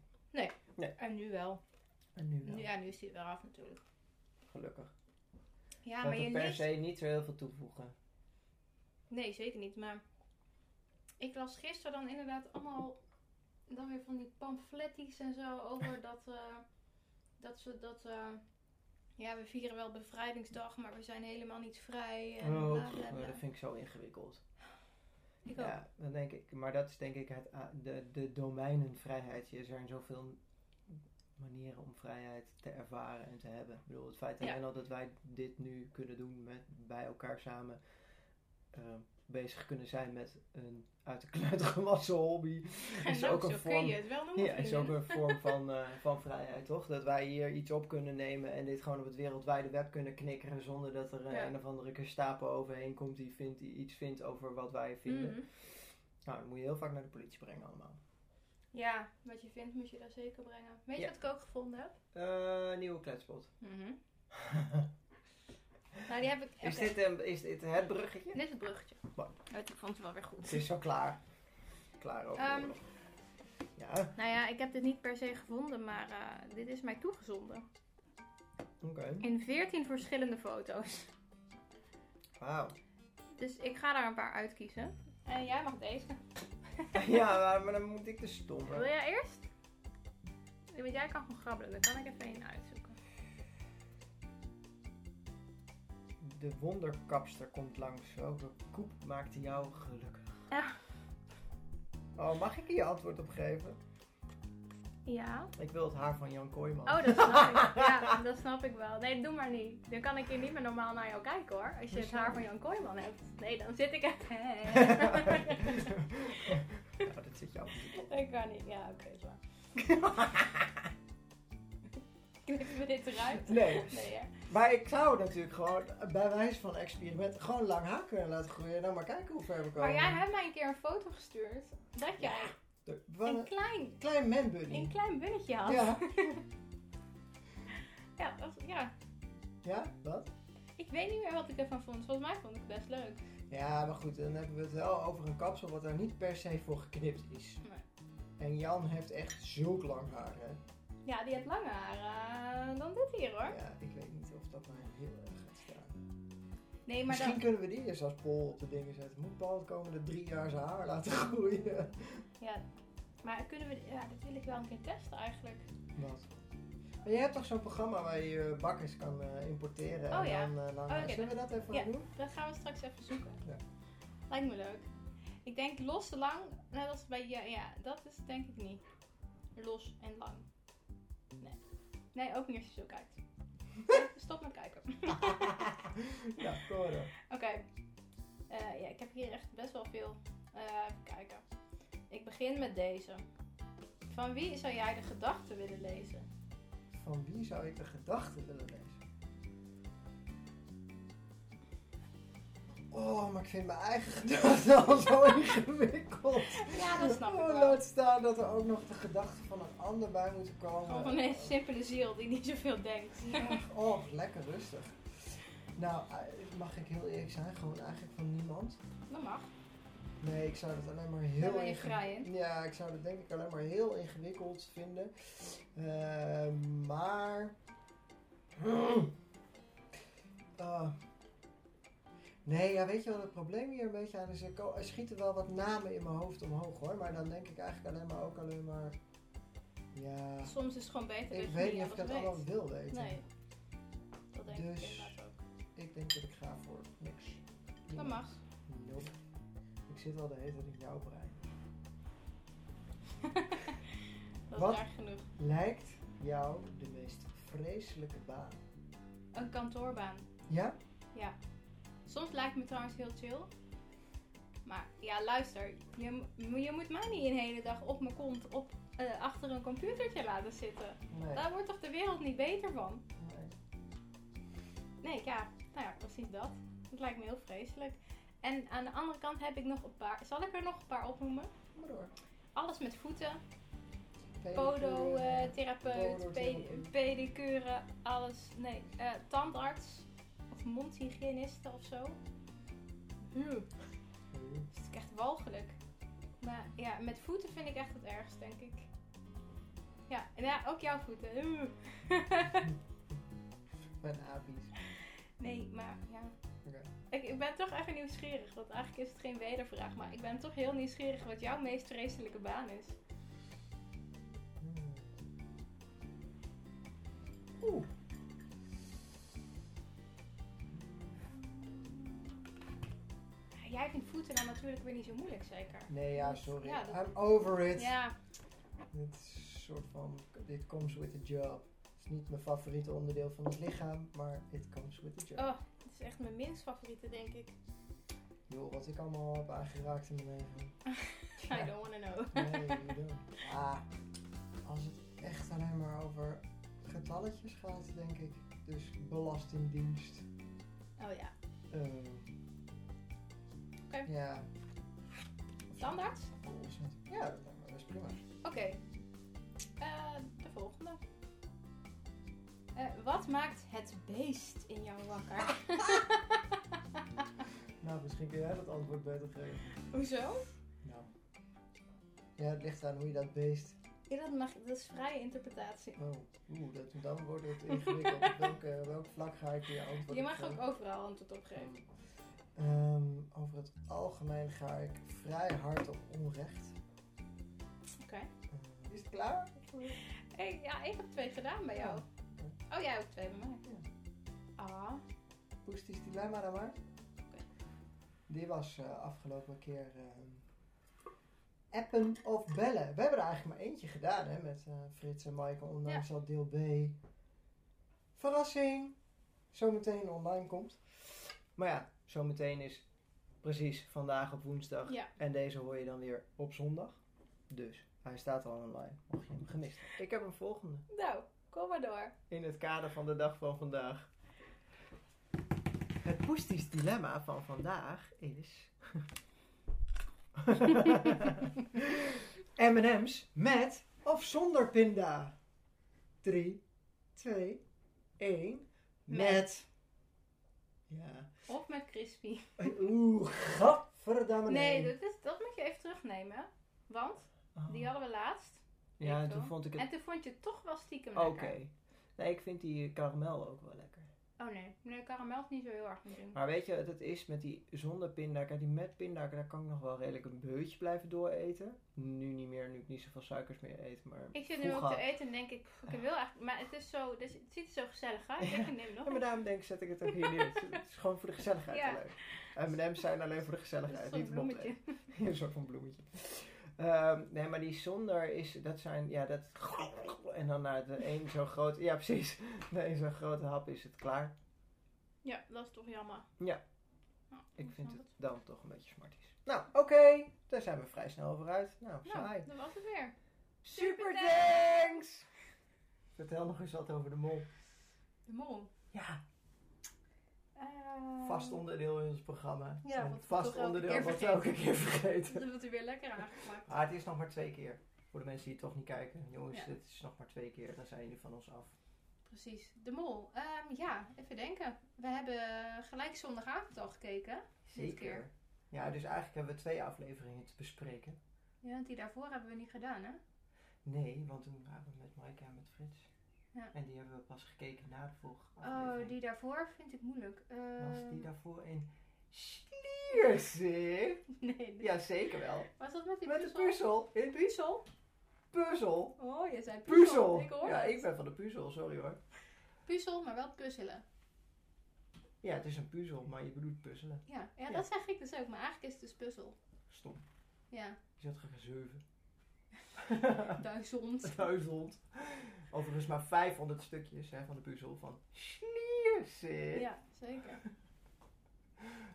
Speaker 2: En nu wel.
Speaker 1: En nu wel,
Speaker 2: Nu, ja, nu is hij weer af natuurlijk.
Speaker 1: gelukkig.
Speaker 2: Ja,
Speaker 1: Ja,
Speaker 2: maar
Speaker 1: maar
Speaker 2: je
Speaker 1: per
Speaker 2: leest...
Speaker 1: se niet zo heel veel toevoegen.
Speaker 2: Nee, zeker niet. Maar ik las gisteren dan inderdaad allemaal dan weer van die pamfletties en zo over dat, eh, dat ze dat. eh, ja, we vieren wel bevrijdingsdag, maar we zijn helemaal niet vrij. En
Speaker 1: Oh,
Speaker 2: bla, bla,
Speaker 1: pff,
Speaker 2: bla.
Speaker 1: dat vind ik zo ingewikkeld.
Speaker 2: Ik ook.
Speaker 1: Ja, dan denk ik, maar dat is denk ik het, a- de, de domeinenvrijheid. Er zijn zoveel manieren om vrijheid te ervaren en te hebben. Ik bedoel, het feit
Speaker 2: Ja.
Speaker 1: alleen al dat wij dit nu kunnen doen met bij elkaar samen eh, bezig kunnen zijn met een uit de kluit gewassen hobby.
Speaker 2: En
Speaker 1: is
Speaker 2: ook,
Speaker 1: ook
Speaker 2: zo
Speaker 1: een
Speaker 2: kun
Speaker 1: vorm-
Speaker 2: je het wel noemen.
Speaker 1: Ja, is
Speaker 2: vriendin.
Speaker 1: ook een vorm van, eh, van vrijheid, toch? Dat wij hier iets op kunnen nemen en dit gewoon op het wereldwijde web kunnen knikkeren zonder dat er eh,
Speaker 2: Ja.
Speaker 1: een of andere Gestapo overheen komt die, vindt, die iets vindt over wat wij vinden.
Speaker 2: Mhm.
Speaker 1: Nou, dat moet je heel vaak naar de politie brengen allemaal.
Speaker 2: Ja, wat je vindt moet je daar zeker brengen. Weet je
Speaker 1: Ja.
Speaker 2: wat ik ook gevonden heb?
Speaker 1: Eh, nieuwe kletspot.
Speaker 2: Mm-hmm. Nou, die heb ik.
Speaker 1: is,
Speaker 2: oké.
Speaker 1: dit een, is dit het bruggetje?
Speaker 2: Dit is het bruggetje.
Speaker 1: Mooi.
Speaker 2: Ik vond het wel weer goed.
Speaker 1: Het is zo klaar. Klaar over. de
Speaker 2: Ehm.
Speaker 1: oorlog. ja,
Speaker 2: Nou ja, ik heb dit niet per se gevonden, maar eh, dit is mij toegezonden.
Speaker 1: oké.
Speaker 2: In 14 verschillende foto's.
Speaker 1: Wauw.
Speaker 2: Dus ik ga daar een paar uitkiezen. En Eh, jij mag deze.
Speaker 1: ja, maar- maar dan moet ik de
Speaker 2: Wil
Speaker 1: stomme.
Speaker 2: jij eerst? Ja, Want jij kan gewoon grabbelen, dan kan ik even één uitzoeken.
Speaker 1: De wonderkapster komt langs. Welke koep maakte jou gelukkig?
Speaker 2: Ja.
Speaker 1: Oh, mag ik hier antwoord op geven?
Speaker 2: Ja.
Speaker 1: Ik wil het haar van Jan Kooijman.
Speaker 2: Oh, dat snap ik. Ja, dat snap ik wel. Nee, doe maar niet. Dan kan ik hier niet meer normaal naar jou kijken hoor. Als je het haar van Jan Kooijman hebt. Nee, dan zit ik echt.
Speaker 1: ja, dat zit je af en toe toch.
Speaker 2: ik kan niet. Ja, oké, is waar. Knippen we dit eruit?
Speaker 1: Nee.
Speaker 2: Nee, ja.
Speaker 1: Maar ik zou natuurlijk gewoon, bij wijze van experiment, gewoon lang haar kunnen laten groeien. En dan maar kijken hoe ver we komen.
Speaker 2: Maar jij hebt mij een keer een foto gestuurd dat jij
Speaker 1: De- wat
Speaker 2: een
Speaker 1: een
Speaker 2: klein,
Speaker 1: klein man bunny.
Speaker 2: een klein bunnetje had.
Speaker 1: Ja.
Speaker 2: Ja, dat, ja,
Speaker 1: Ja, wat?
Speaker 2: ik weet niet meer wat ik ervan vond. Volgens mij vond ik het best leuk.
Speaker 1: Ja, maar goed, dan hebben we het wel over een kapsel wat daar niet per se voor geknipt is.
Speaker 2: Nee.
Speaker 1: En Jan heeft echt zulk lang haar, hè?
Speaker 2: Ja, die had langer haar eh, dan dit hier hoor.
Speaker 1: Ja, ik weet niet of dat mij heel erg gaat staan.
Speaker 2: Nee, maar
Speaker 1: Misschien
Speaker 2: dan,
Speaker 1: kunnen we die eens als pol op de dingen zetten. Moet Paul de komende drie jaar zijn haar laten groeien?
Speaker 2: ja, maar kunnen we, ja, dat wil ik wel een keer testen eigenlijk.
Speaker 1: Wat? Maar jij hebt toch zo'n programma waar je je bakkers kan eh, importeren
Speaker 2: Oh
Speaker 1: en
Speaker 2: ja.
Speaker 1: dan... eh, dan-
Speaker 2: Oké,
Speaker 1: Zullen we dat even
Speaker 2: ja.
Speaker 1: doen?
Speaker 2: Dat gaan we straks even zoeken.
Speaker 1: Ja.
Speaker 2: Lijkt me leuk. Ik denk los en lang, net als bij je, ja, dat is denk ik niet. Los en lang. Nee. Nee, ook niet als je zo kijkt. Stop met kijken.
Speaker 1: ja, kom maar door.
Speaker 2: Oké. Eh, ja, ik heb hier echt best wel veel. Eh, even kijken. Ik begin met deze. Van wie zou jij de gedachten willen lezen?
Speaker 1: Van wie zou ik de gedachten willen lezen? Oh, maar ik vind mijn eigen gedachten al zo ingewikkeld.
Speaker 2: Ja, dat snap ik
Speaker 1: Oh,
Speaker 2: wel.
Speaker 1: laat staan dat er ook nog de gedachten van een ander bij moeten komen.
Speaker 2: Gewoon van eh, een simpele ziel die niet zoveel denkt.
Speaker 1: Ja, Oh, lekker rustig. Nou, eh, mag ik heel eerlijk zijn? Gewoon eigenlijk van niemand.
Speaker 2: Dat mag.
Speaker 1: Nee, ik zou dat alleen maar
Speaker 2: Daar
Speaker 1: heel
Speaker 2: ben je
Speaker 1: inge-
Speaker 2: vrij in.
Speaker 1: Ja, ik zou dat denk ik alleen maar heel ingewikkeld vinden. Eh, maar. Ah. nee, ja, weet je wat het probleem hier een beetje aan is? Er ko- Er schieten wel wat namen in mijn hoofd omhoog hoor. Maar dan denk ik eigenlijk alleen maar ook alleen maar. Ja.
Speaker 2: Soms is het gewoon beter dat
Speaker 1: Ik
Speaker 2: je
Speaker 1: weet
Speaker 2: niet
Speaker 1: niet of ik dat
Speaker 2: alles
Speaker 1: allemaal
Speaker 2: weet.
Speaker 1: wil weten.
Speaker 2: Nee. Dat denk ik
Speaker 1: Dus-
Speaker 2: inderdaad ook.
Speaker 1: Ik denk dat ik ga voor niks.
Speaker 2: Dat
Speaker 1: Niemand.
Speaker 2: mag.
Speaker 1: Nope. Ik zit al de hele tijd in jouw brein.
Speaker 2: Dat
Speaker 1: Wat?
Speaker 2: is erg genoeg.
Speaker 1: Lijkt jou de meest vreselijke baan?
Speaker 2: Een kantoorbaan.
Speaker 1: Ja?
Speaker 2: Ja. Soms lijkt me trouwens heel chill. Maar ja, luister. Je, mo- je moet mij niet een hele dag op mijn kont op, eh, achter een computertje laten zitten.
Speaker 1: Nee.
Speaker 2: Daar wordt toch de wereld niet beter van?
Speaker 1: Nee.
Speaker 2: Nee, ja. Nou ja, precies dat. Dat lijkt me heel vreselijk. En aan de andere kant heb ik nog een paar... Zal ik er nog een paar opnoemen?
Speaker 1: Kom maar door.
Speaker 2: Alles met voeten.
Speaker 1: Pedicure.
Speaker 2: Podotherapeut,
Speaker 1: podologie.
Speaker 2: eh, pe- pedicure, alles. Nee, eh, tandarts of mondhygiëniste of zo. Hm.
Speaker 1: Hmm.
Speaker 2: Dat is echt walgelijk. Maar ja, met voeten vind ik echt het ergst, denk ik. Ja, en ja, ook jouw voeten. Ugh.
Speaker 1: Mijn apies.
Speaker 2: nee, maar ja.
Speaker 1: Oké.
Speaker 2: Ik, ik ben toch even nieuwsgierig, want eigenlijk is het geen wedervraag. Maar ik ben toch heel nieuwsgierig wat jouw meest vreselijke baan is.
Speaker 1: Hmm. Oeh.
Speaker 2: Ja, Jij vindt voeten dan natuurlijk weer niet zo moeilijk, zeker.
Speaker 1: Nee, ja, sorry.
Speaker 2: Ja, dat-
Speaker 1: I'm over it.
Speaker 2: Ja,
Speaker 1: Dit is een soort van, dit comes with the job. Het is niet mijn favoriete onderdeel van het lichaam, maar it comes with the job.
Speaker 2: oh, het is echt mijn minst favoriete, denk ik.
Speaker 1: Joh, wat ik allemaal heb aangeraakt in mijn leven.
Speaker 2: I don't wanna know.
Speaker 1: Nee, you don't. Ah, als het echt alleen maar over getalletjes gaat, denk ik. Dus belastingdienst.
Speaker 2: Oh ja.
Speaker 1: eh,
Speaker 2: Oké.
Speaker 1: Ja.
Speaker 2: Tandarts?
Speaker 1: Of- Ja, dat lijkt me best prima.
Speaker 2: Oké. Eh, de volgende. Eh, wat maakt het beest in jou wakker?
Speaker 1: Nou, misschien kun jij dat antwoord beter geven.
Speaker 2: Hoezo?
Speaker 1: Nou. Ja, het ligt aan hoe je dat beest
Speaker 2: Ja, dat, mag, dat is vrije interpretatie.
Speaker 1: Oh, oeh, dat, dan wordt het ingewikkeld. Op welke, welk vlak ga ik hier antwoorden?
Speaker 2: Je mag ook overal antwoord op geven.
Speaker 1: Ehm, over het algemeen ga ik vrij hard op onrecht.
Speaker 2: Oké.
Speaker 1: Eh, is het klaar?
Speaker 2: Hey, ja, ik heb twee gedaan bij jou. Oh, jij ook twee bij mij. Ah,
Speaker 1: Poest is dilemma dan maar.
Speaker 2: Oké.
Speaker 1: Die was eh, afgelopen keer eh, appen of bellen. We hebben er eigenlijk maar eentje gedaan hè, met eh, Frits en Maaike, ondanks dat deel B. Verrassing! Zometeen online komt. Maar ja, zometeen is precies vandaag op woensdag.
Speaker 2: ja.
Speaker 1: En deze hoor je dan weer op zondag. Dus hij staat al online, mocht je hem gemist hebben. Ik heb een volgende.
Speaker 2: Nou, kom maar door.
Speaker 1: In het kader van de dag van vandaag. Het poestisch dilemma van vandaag is... M&M's met of zonder pinda? 3, 2, 1...
Speaker 2: Met.
Speaker 1: Met. Ja.
Speaker 2: Of met crispy.
Speaker 1: Oeh, gadverdamme
Speaker 2: Oh, Nee, dat, is, dat moet je even terugnemen. Want
Speaker 1: Oh.
Speaker 2: die hadden we laatst.
Speaker 1: Ja, en
Speaker 2: Weet
Speaker 1: toen
Speaker 2: wel.
Speaker 1: vond ik het
Speaker 2: En toen vond je het toch wel stiekem
Speaker 1: Oké.
Speaker 2: lekker.
Speaker 1: Nee, ik vind die karamel ook wel lekker.
Speaker 2: Oh nee, nee, karamel is niet zo heel erg mijn ding.
Speaker 1: Maar weet je wat het is met die zonder pindakaas? Die met pindakaas, daar kan ik nog wel redelijk een beutje blijven dooreten. Nu niet meer, nu ik niet zoveel suikers meer eet. Maar
Speaker 2: Ik zit nu ook
Speaker 1: vroeger-
Speaker 2: te eten en denk ik, pff, ik wil eigenlijk, maar het is zo, dus het ziet er zo gezellig uit. Ik denk, ik neem nog
Speaker 1: Ja, maar
Speaker 2: een.
Speaker 1: daarom denk ik, zet ik het ook hier neer. Het is- Het is gewoon voor de gezelligheid
Speaker 2: Ja.
Speaker 1: alleen. M&M's zijn alleen voor de
Speaker 2: Dat is
Speaker 1: gezelligheid,
Speaker 2: zo'n
Speaker 1: niet om op te
Speaker 2: bloemetje.
Speaker 1: eten. een soort van bloemetje. Ehm, nee, maar die zonder is, dat zijn, ja, dat en dan na de één zo'n grote... Ja, precies. Na één zo'n grote hap is het klaar.
Speaker 2: Ja, dat is toch jammer.
Speaker 1: Ja.
Speaker 2: Nou,
Speaker 1: Ik vind
Speaker 2: snap
Speaker 1: het dan toch een beetje smarties. Nou, oké. Daar zijn we vrij snel over uit. Nou, saai.
Speaker 2: Nou, dat was het weer.
Speaker 1: Super thanks! Vertel nog eens wat over de mol.
Speaker 2: De mol.
Speaker 1: Ja,
Speaker 2: Ehm,
Speaker 1: vast onderdeel in ons programma.
Speaker 2: Ja,
Speaker 1: Een
Speaker 2: wat we
Speaker 1: vast
Speaker 2: toch elke
Speaker 1: onderdeel
Speaker 2: keer
Speaker 1: wat we
Speaker 2: vergeten.
Speaker 1: elke keer vergeten.
Speaker 2: Dat wordt er weer lekker aangepakt.
Speaker 1: Maar het is nog maar twee keer. Voor de mensen die het toch niet kijken. Jongens,
Speaker 2: Ja.
Speaker 1: het is nog maar twee keer. Dan zijn jullie van ons af.
Speaker 2: Precies. De mol. Ehm, ja, even denken. We hebben gelijk zondagavond al gekeken. Dit keer.
Speaker 1: Ja, dus eigenlijk hebben we twee afleveringen te bespreken.
Speaker 2: Ja, want die daarvoor hebben we niet gedaan, hè?
Speaker 1: Nee, want toen waren we met Maaike en met Frits.
Speaker 2: Ja.
Speaker 1: En die hebben we pas gekeken na de vorige aflevering.
Speaker 2: Oh, die daarvoor vind ik moeilijk. Eh,
Speaker 1: Was die daarvoor in Sliersee?
Speaker 2: Nee. Ja.
Speaker 1: Jazeker wel.
Speaker 2: Was dat met die
Speaker 1: Met de
Speaker 2: puzzel?
Speaker 1: puzzel. In die
Speaker 2: Puzzel?
Speaker 1: puzzel.
Speaker 2: Oh, je zei puzzel.
Speaker 1: Puzzel.
Speaker 2: Ik hoor
Speaker 1: ja,
Speaker 2: het.
Speaker 1: ik ben van de puzzel, sorry hoor.
Speaker 2: Puzzel, maar wel puzzelen.
Speaker 1: Ja, het is een puzzel, maar je bedoelt puzzelen.
Speaker 2: Ja, ja,
Speaker 1: Ja.
Speaker 2: dat zeg ik dus ook. Maar eigenlijk is het dus puzzel.
Speaker 1: Stom.
Speaker 2: Ja,
Speaker 1: Je zat gezeuven.
Speaker 2: duizend.
Speaker 1: Duizend. Overigens maar 500 stukjes hè, van de puzzel van Sliersee.
Speaker 2: Ja, zeker.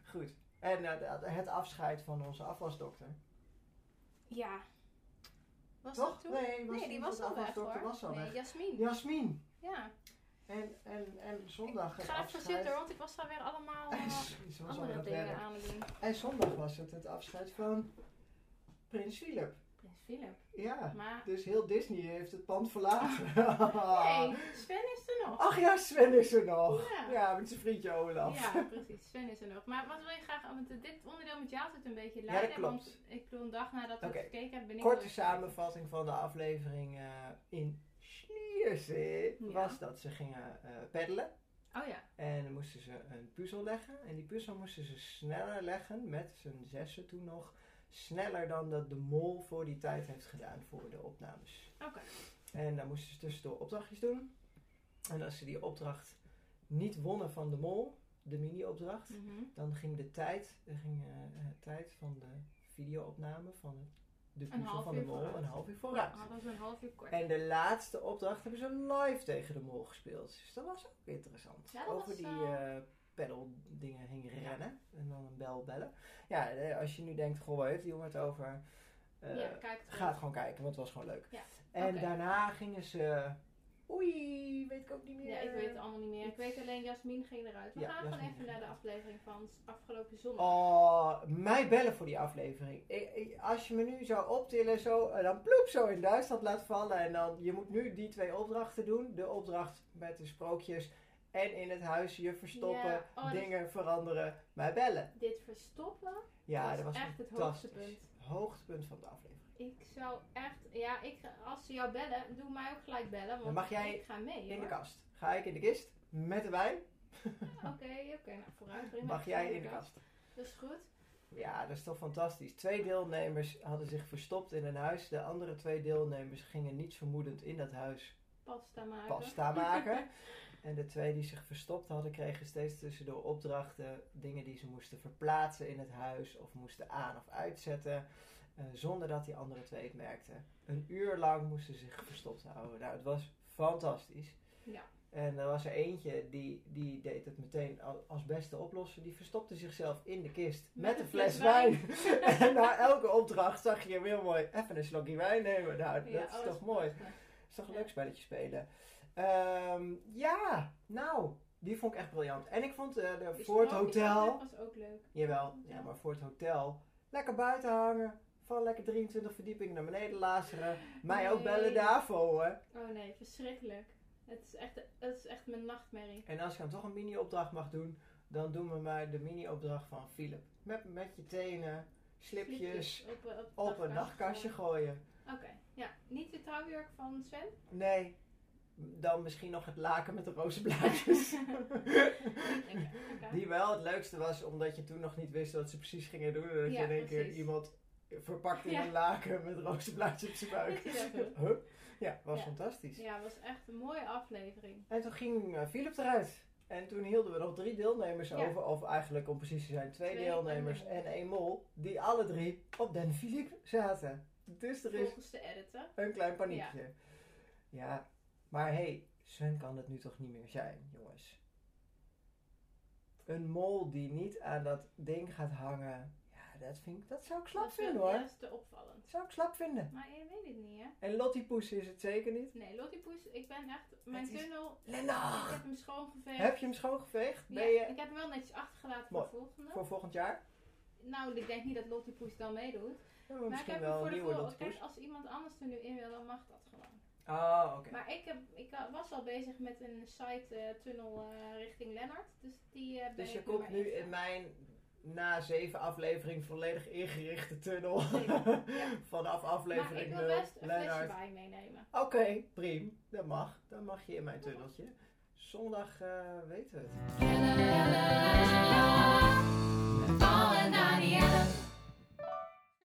Speaker 1: Goed. En eh, het afscheid van onze afwasdokter.
Speaker 2: Ja. Was
Speaker 1: Toch?
Speaker 2: dat toen?
Speaker 1: Nee, was
Speaker 2: Nee, die
Speaker 1: niet,
Speaker 2: was
Speaker 1: want
Speaker 2: al
Speaker 1: de
Speaker 2: weg
Speaker 1: afwasdokter
Speaker 2: hoor.
Speaker 1: was al
Speaker 2: nee,
Speaker 1: weg.
Speaker 2: Jasmin. Ja.
Speaker 1: Jasmin. En, en, en zondag
Speaker 2: Ik
Speaker 1: het
Speaker 2: ga even
Speaker 1: afscheid.
Speaker 2: zitten, want ik was daar weer allemaal eh,
Speaker 1: En z- ze was al aan
Speaker 2: andere
Speaker 1: het
Speaker 2: dingen
Speaker 1: werk.
Speaker 2: aan het doen.
Speaker 1: En zondag was het het afscheid van Prins Philip.
Speaker 2: Prins Philip.
Speaker 1: Ja,
Speaker 2: Maar,
Speaker 1: dus heel Disney heeft het pand verlaten.
Speaker 2: nee, Sven is er nog.
Speaker 1: Ach ja, Sven is er nog.
Speaker 2: Ja.
Speaker 1: Ah. Ja, met zijn vriendje Olaf.
Speaker 2: Ja, precies. Sven is er nog. Maar wat wil je graag... Want dit onderdeel moet je altijd een beetje
Speaker 1: Ja,
Speaker 2: leiden.
Speaker 1: dat klopt.
Speaker 2: Want ik bedoel, een dag nadat we
Speaker 1: Oké.
Speaker 2: het gekeken hebben... ben ik
Speaker 1: Korte
Speaker 2: weer-
Speaker 1: samenvatting van de aflevering eh, in Schliersee
Speaker 2: Ja.
Speaker 1: was dat ze gingen eh, peddelen.
Speaker 2: Oh ja.
Speaker 1: En dan moesten ze een puzzel leggen. En die puzzel moesten ze sneller leggen, met z'n zessen toen nog. Sneller dan dat de mol voor die tijd heeft gedaan voor de opnames.
Speaker 2: Oké.
Speaker 1: En daar moesten ze tussendoor opdrachtjes doen. En als ze die opdracht niet wonnen van de mol, de mini-opdracht,
Speaker 2: Mhm.
Speaker 1: dan ging de tijd, er ging, eh, eh, tijd van de videoopname van het, de puzzel
Speaker 2: half
Speaker 1: van de
Speaker 2: uur
Speaker 1: mol
Speaker 2: vooruit.
Speaker 1: een half uur
Speaker 2: Dan
Speaker 1: vooruit.
Speaker 2: hadden we een half uur kort.
Speaker 1: En de laatste opdracht hebben ze live tegen de mol gespeeld. Dus dat was ook interessant.
Speaker 2: Ja, dat
Speaker 1: Over
Speaker 2: was,
Speaker 1: die
Speaker 2: eh,
Speaker 1: eh pedal dingen heen rennen en dan een bel bellen. Ja, eh, als je nu denkt, goh, waar heeft die jongen het over? Eh,
Speaker 2: ja, kijk het
Speaker 1: Ga het gewoon kijken, want het was gewoon leuk.
Speaker 2: Ja.
Speaker 1: En
Speaker 2: Oké.
Speaker 1: daarna gingen ze. Oei, weet ik ook niet meer.
Speaker 2: Ja, ik weet het allemaal niet meer. Ik weet alleen, Jasmin ging eruit. We
Speaker 1: Ja,
Speaker 2: gaan gewoon
Speaker 1: Jasmin
Speaker 2: even
Speaker 1: ging
Speaker 2: naar de
Speaker 1: eruit.
Speaker 2: aflevering van s- afgelopen zondag.
Speaker 1: Oh, mij bellen voor die aflevering. Ik- ik- als je me nu zou optillen, zo, eh, dan ploep zo in Duitsland laat vallen. En dan, je moet nu die twee opdrachten doen. De opdracht met de sprookjes en in het huis je verstoppen,
Speaker 2: Ja, oh, dat-
Speaker 1: dingen veranderen, mij bellen.
Speaker 2: Dit verstoppen.
Speaker 1: Ja,
Speaker 2: Dat is
Speaker 1: dat, was
Speaker 2: echt het
Speaker 1: fantastisch.
Speaker 2: hoogtepunt.
Speaker 1: Hoogtepunt van de aflevering.
Speaker 2: Ik zou echt... Ja, ik, als ze jou bellen, doe mij ook gelijk bellen. Want
Speaker 1: Dan mag jij
Speaker 2: ik ga mee,
Speaker 1: In de
Speaker 2: hoor.
Speaker 1: kast. Ga ik in de kist met de wijn?
Speaker 2: Oké, oké. nou, vooruit. Prima.
Speaker 1: Mag jij in de kast?
Speaker 2: Dat is goed.
Speaker 1: Ja, dat is toch fantastisch. Twee deelnemers hadden zich verstopt in een huis. De andere twee deelnemers gingen niet vermoedend in dat huis
Speaker 2: Pasta maken.
Speaker 1: pasta maken. En de twee die zich verstopt hadden, kregen steeds tussendoor opdrachten. Dingen die ze moesten verplaatsen in het huis of moesten aan- of uitzetten. eh, zonder dat die andere twee het merkten. Een uur lang moesten ze zich verstopt houden. Nou, het was fantastisch.
Speaker 2: Ja.
Speaker 1: En er was er eentje die, die deed het meteen al- als beste oplossen. Die verstopte zichzelf in de kist met, een fles wijn. en na elke opdracht zag je hem heel mooi even een slokje wijn nemen. Nou,
Speaker 2: Ja,
Speaker 1: dat is
Speaker 2: oh,
Speaker 1: toch mooi.
Speaker 2: prachtig.
Speaker 1: Dat is toch een
Speaker 2: Ja.
Speaker 1: leuk spelletje spelen. Ehm, ja, nou, die vond ik echt briljant. En ik vond eh, de,
Speaker 2: Die
Speaker 1: voor het
Speaker 2: sprookjes
Speaker 1: hotel,
Speaker 2: Dat was ook leuk.
Speaker 1: jawel, ja, maar voor het hotel, lekker buiten hangen. Van lekker 23 verdiepingen naar beneden lazeren. Mij ook
Speaker 2: Nee.
Speaker 1: bellen daarvoor. hè.
Speaker 2: Oh nee, verschrikkelijk. Het is echt, het is echt mijn nachtmerrie.
Speaker 1: En als ik dan toch een mini-opdracht mag doen, dan doen we maar de mini-opdracht van Philip. Met, met je tenen, slipjes,
Speaker 2: Slipjes op, op, het
Speaker 1: op een nachtkastje gooien.
Speaker 2: Oké, ja. Niet de trouwjurk van Sven?
Speaker 1: Nee, dan misschien nog het laken met de rozenblaadjes.
Speaker 2: Oké, oké.
Speaker 1: Die wel het leukste was, omdat je toen nog niet wist wat ze precies gingen doen. En dat
Speaker 2: Ja,
Speaker 1: je in één keer
Speaker 2: precies.
Speaker 1: iemand verpakt in
Speaker 2: Ja.
Speaker 1: een laken met rozenblaadjes op zijn buik.
Speaker 2: Weet je dat
Speaker 1: Hup. Ja, was
Speaker 2: Ja.
Speaker 1: fantastisch.
Speaker 2: Ja, was echt een mooie aflevering.
Speaker 1: En toen ging eh, Philip eruit. En toen hielden we nog drie deelnemers
Speaker 2: Ja.
Speaker 1: over. Of eigenlijk om precies te zijn twee,
Speaker 2: Twee
Speaker 1: deelnemers
Speaker 2: en
Speaker 1: en één mol. Die alle drie op Den Philip zaten. Dus er is
Speaker 2: Volgens de editor.
Speaker 1: een klein paniekje. Ja, Maar hé, hey, Sven kan het nu toch niet meer zijn, jongens. Een mol die niet aan dat ding gaat hangen. Ja, dat, vind ik, dat zou ik slap
Speaker 2: dat is
Speaker 1: vinden
Speaker 2: wel-
Speaker 1: hoor.
Speaker 2: Dat is te opvallend.
Speaker 1: Dat zou ik slap vinden.
Speaker 2: Maar je weet het niet, hè?
Speaker 1: En Lottipoes is het zeker niet.
Speaker 2: Nee, Lottipoes, ik ben echt... Mijn
Speaker 1: Het is-
Speaker 2: tunnel, ik
Speaker 1: Lennart!
Speaker 2: heb hem schoongeveegd.
Speaker 1: Heb je hem schoongeveegd?
Speaker 2: Ja,
Speaker 1: Ben je
Speaker 2: ik heb hem wel netjes achtergelaten
Speaker 1: Mooi.
Speaker 2: voor de volgende.
Speaker 1: voor volgend jaar?
Speaker 2: Nou, ik denk niet dat Lottipoes dan meedoet.
Speaker 1: Ja,
Speaker 2: Maar ik
Speaker 1: misschien
Speaker 2: heb hem
Speaker 1: wel
Speaker 2: voor
Speaker 1: een
Speaker 2: de
Speaker 1: nieuwe
Speaker 2: volgende.
Speaker 1: Lottipoes.
Speaker 2: Kijk, als iemand anders er nu in wil, dan mag dat gewoon.
Speaker 1: Ah, oké.
Speaker 2: Maar ik, heb, ik eh, was al bezig met een side-tunnel eh, richting Lennart. Dus die eh, ben
Speaker 1: Dus je
Speaker 2: ik nummer
Speaker 1: komt nu
Speaker 2: één.
Speaker 1: in mijn na zeven aflevering volledig ingerichte tunnel.
Speaker 2: Zeker, ja.
Speaker 1: Vanaf
Speaker 2: Maar
Speaker 1: aflevering
Speaker 2: ik wil
Speaker 1: nul,
Speaker 2: best een flesje
Speaker 1: Lennart.
Speaker 2: wijn meenemen.
Speaker 1: Oké, prima. Dat mag. Dan mag je in mijn tunneltje. Zondag eh, weten we het.
Speaker 2: Ella, Ella, Ella,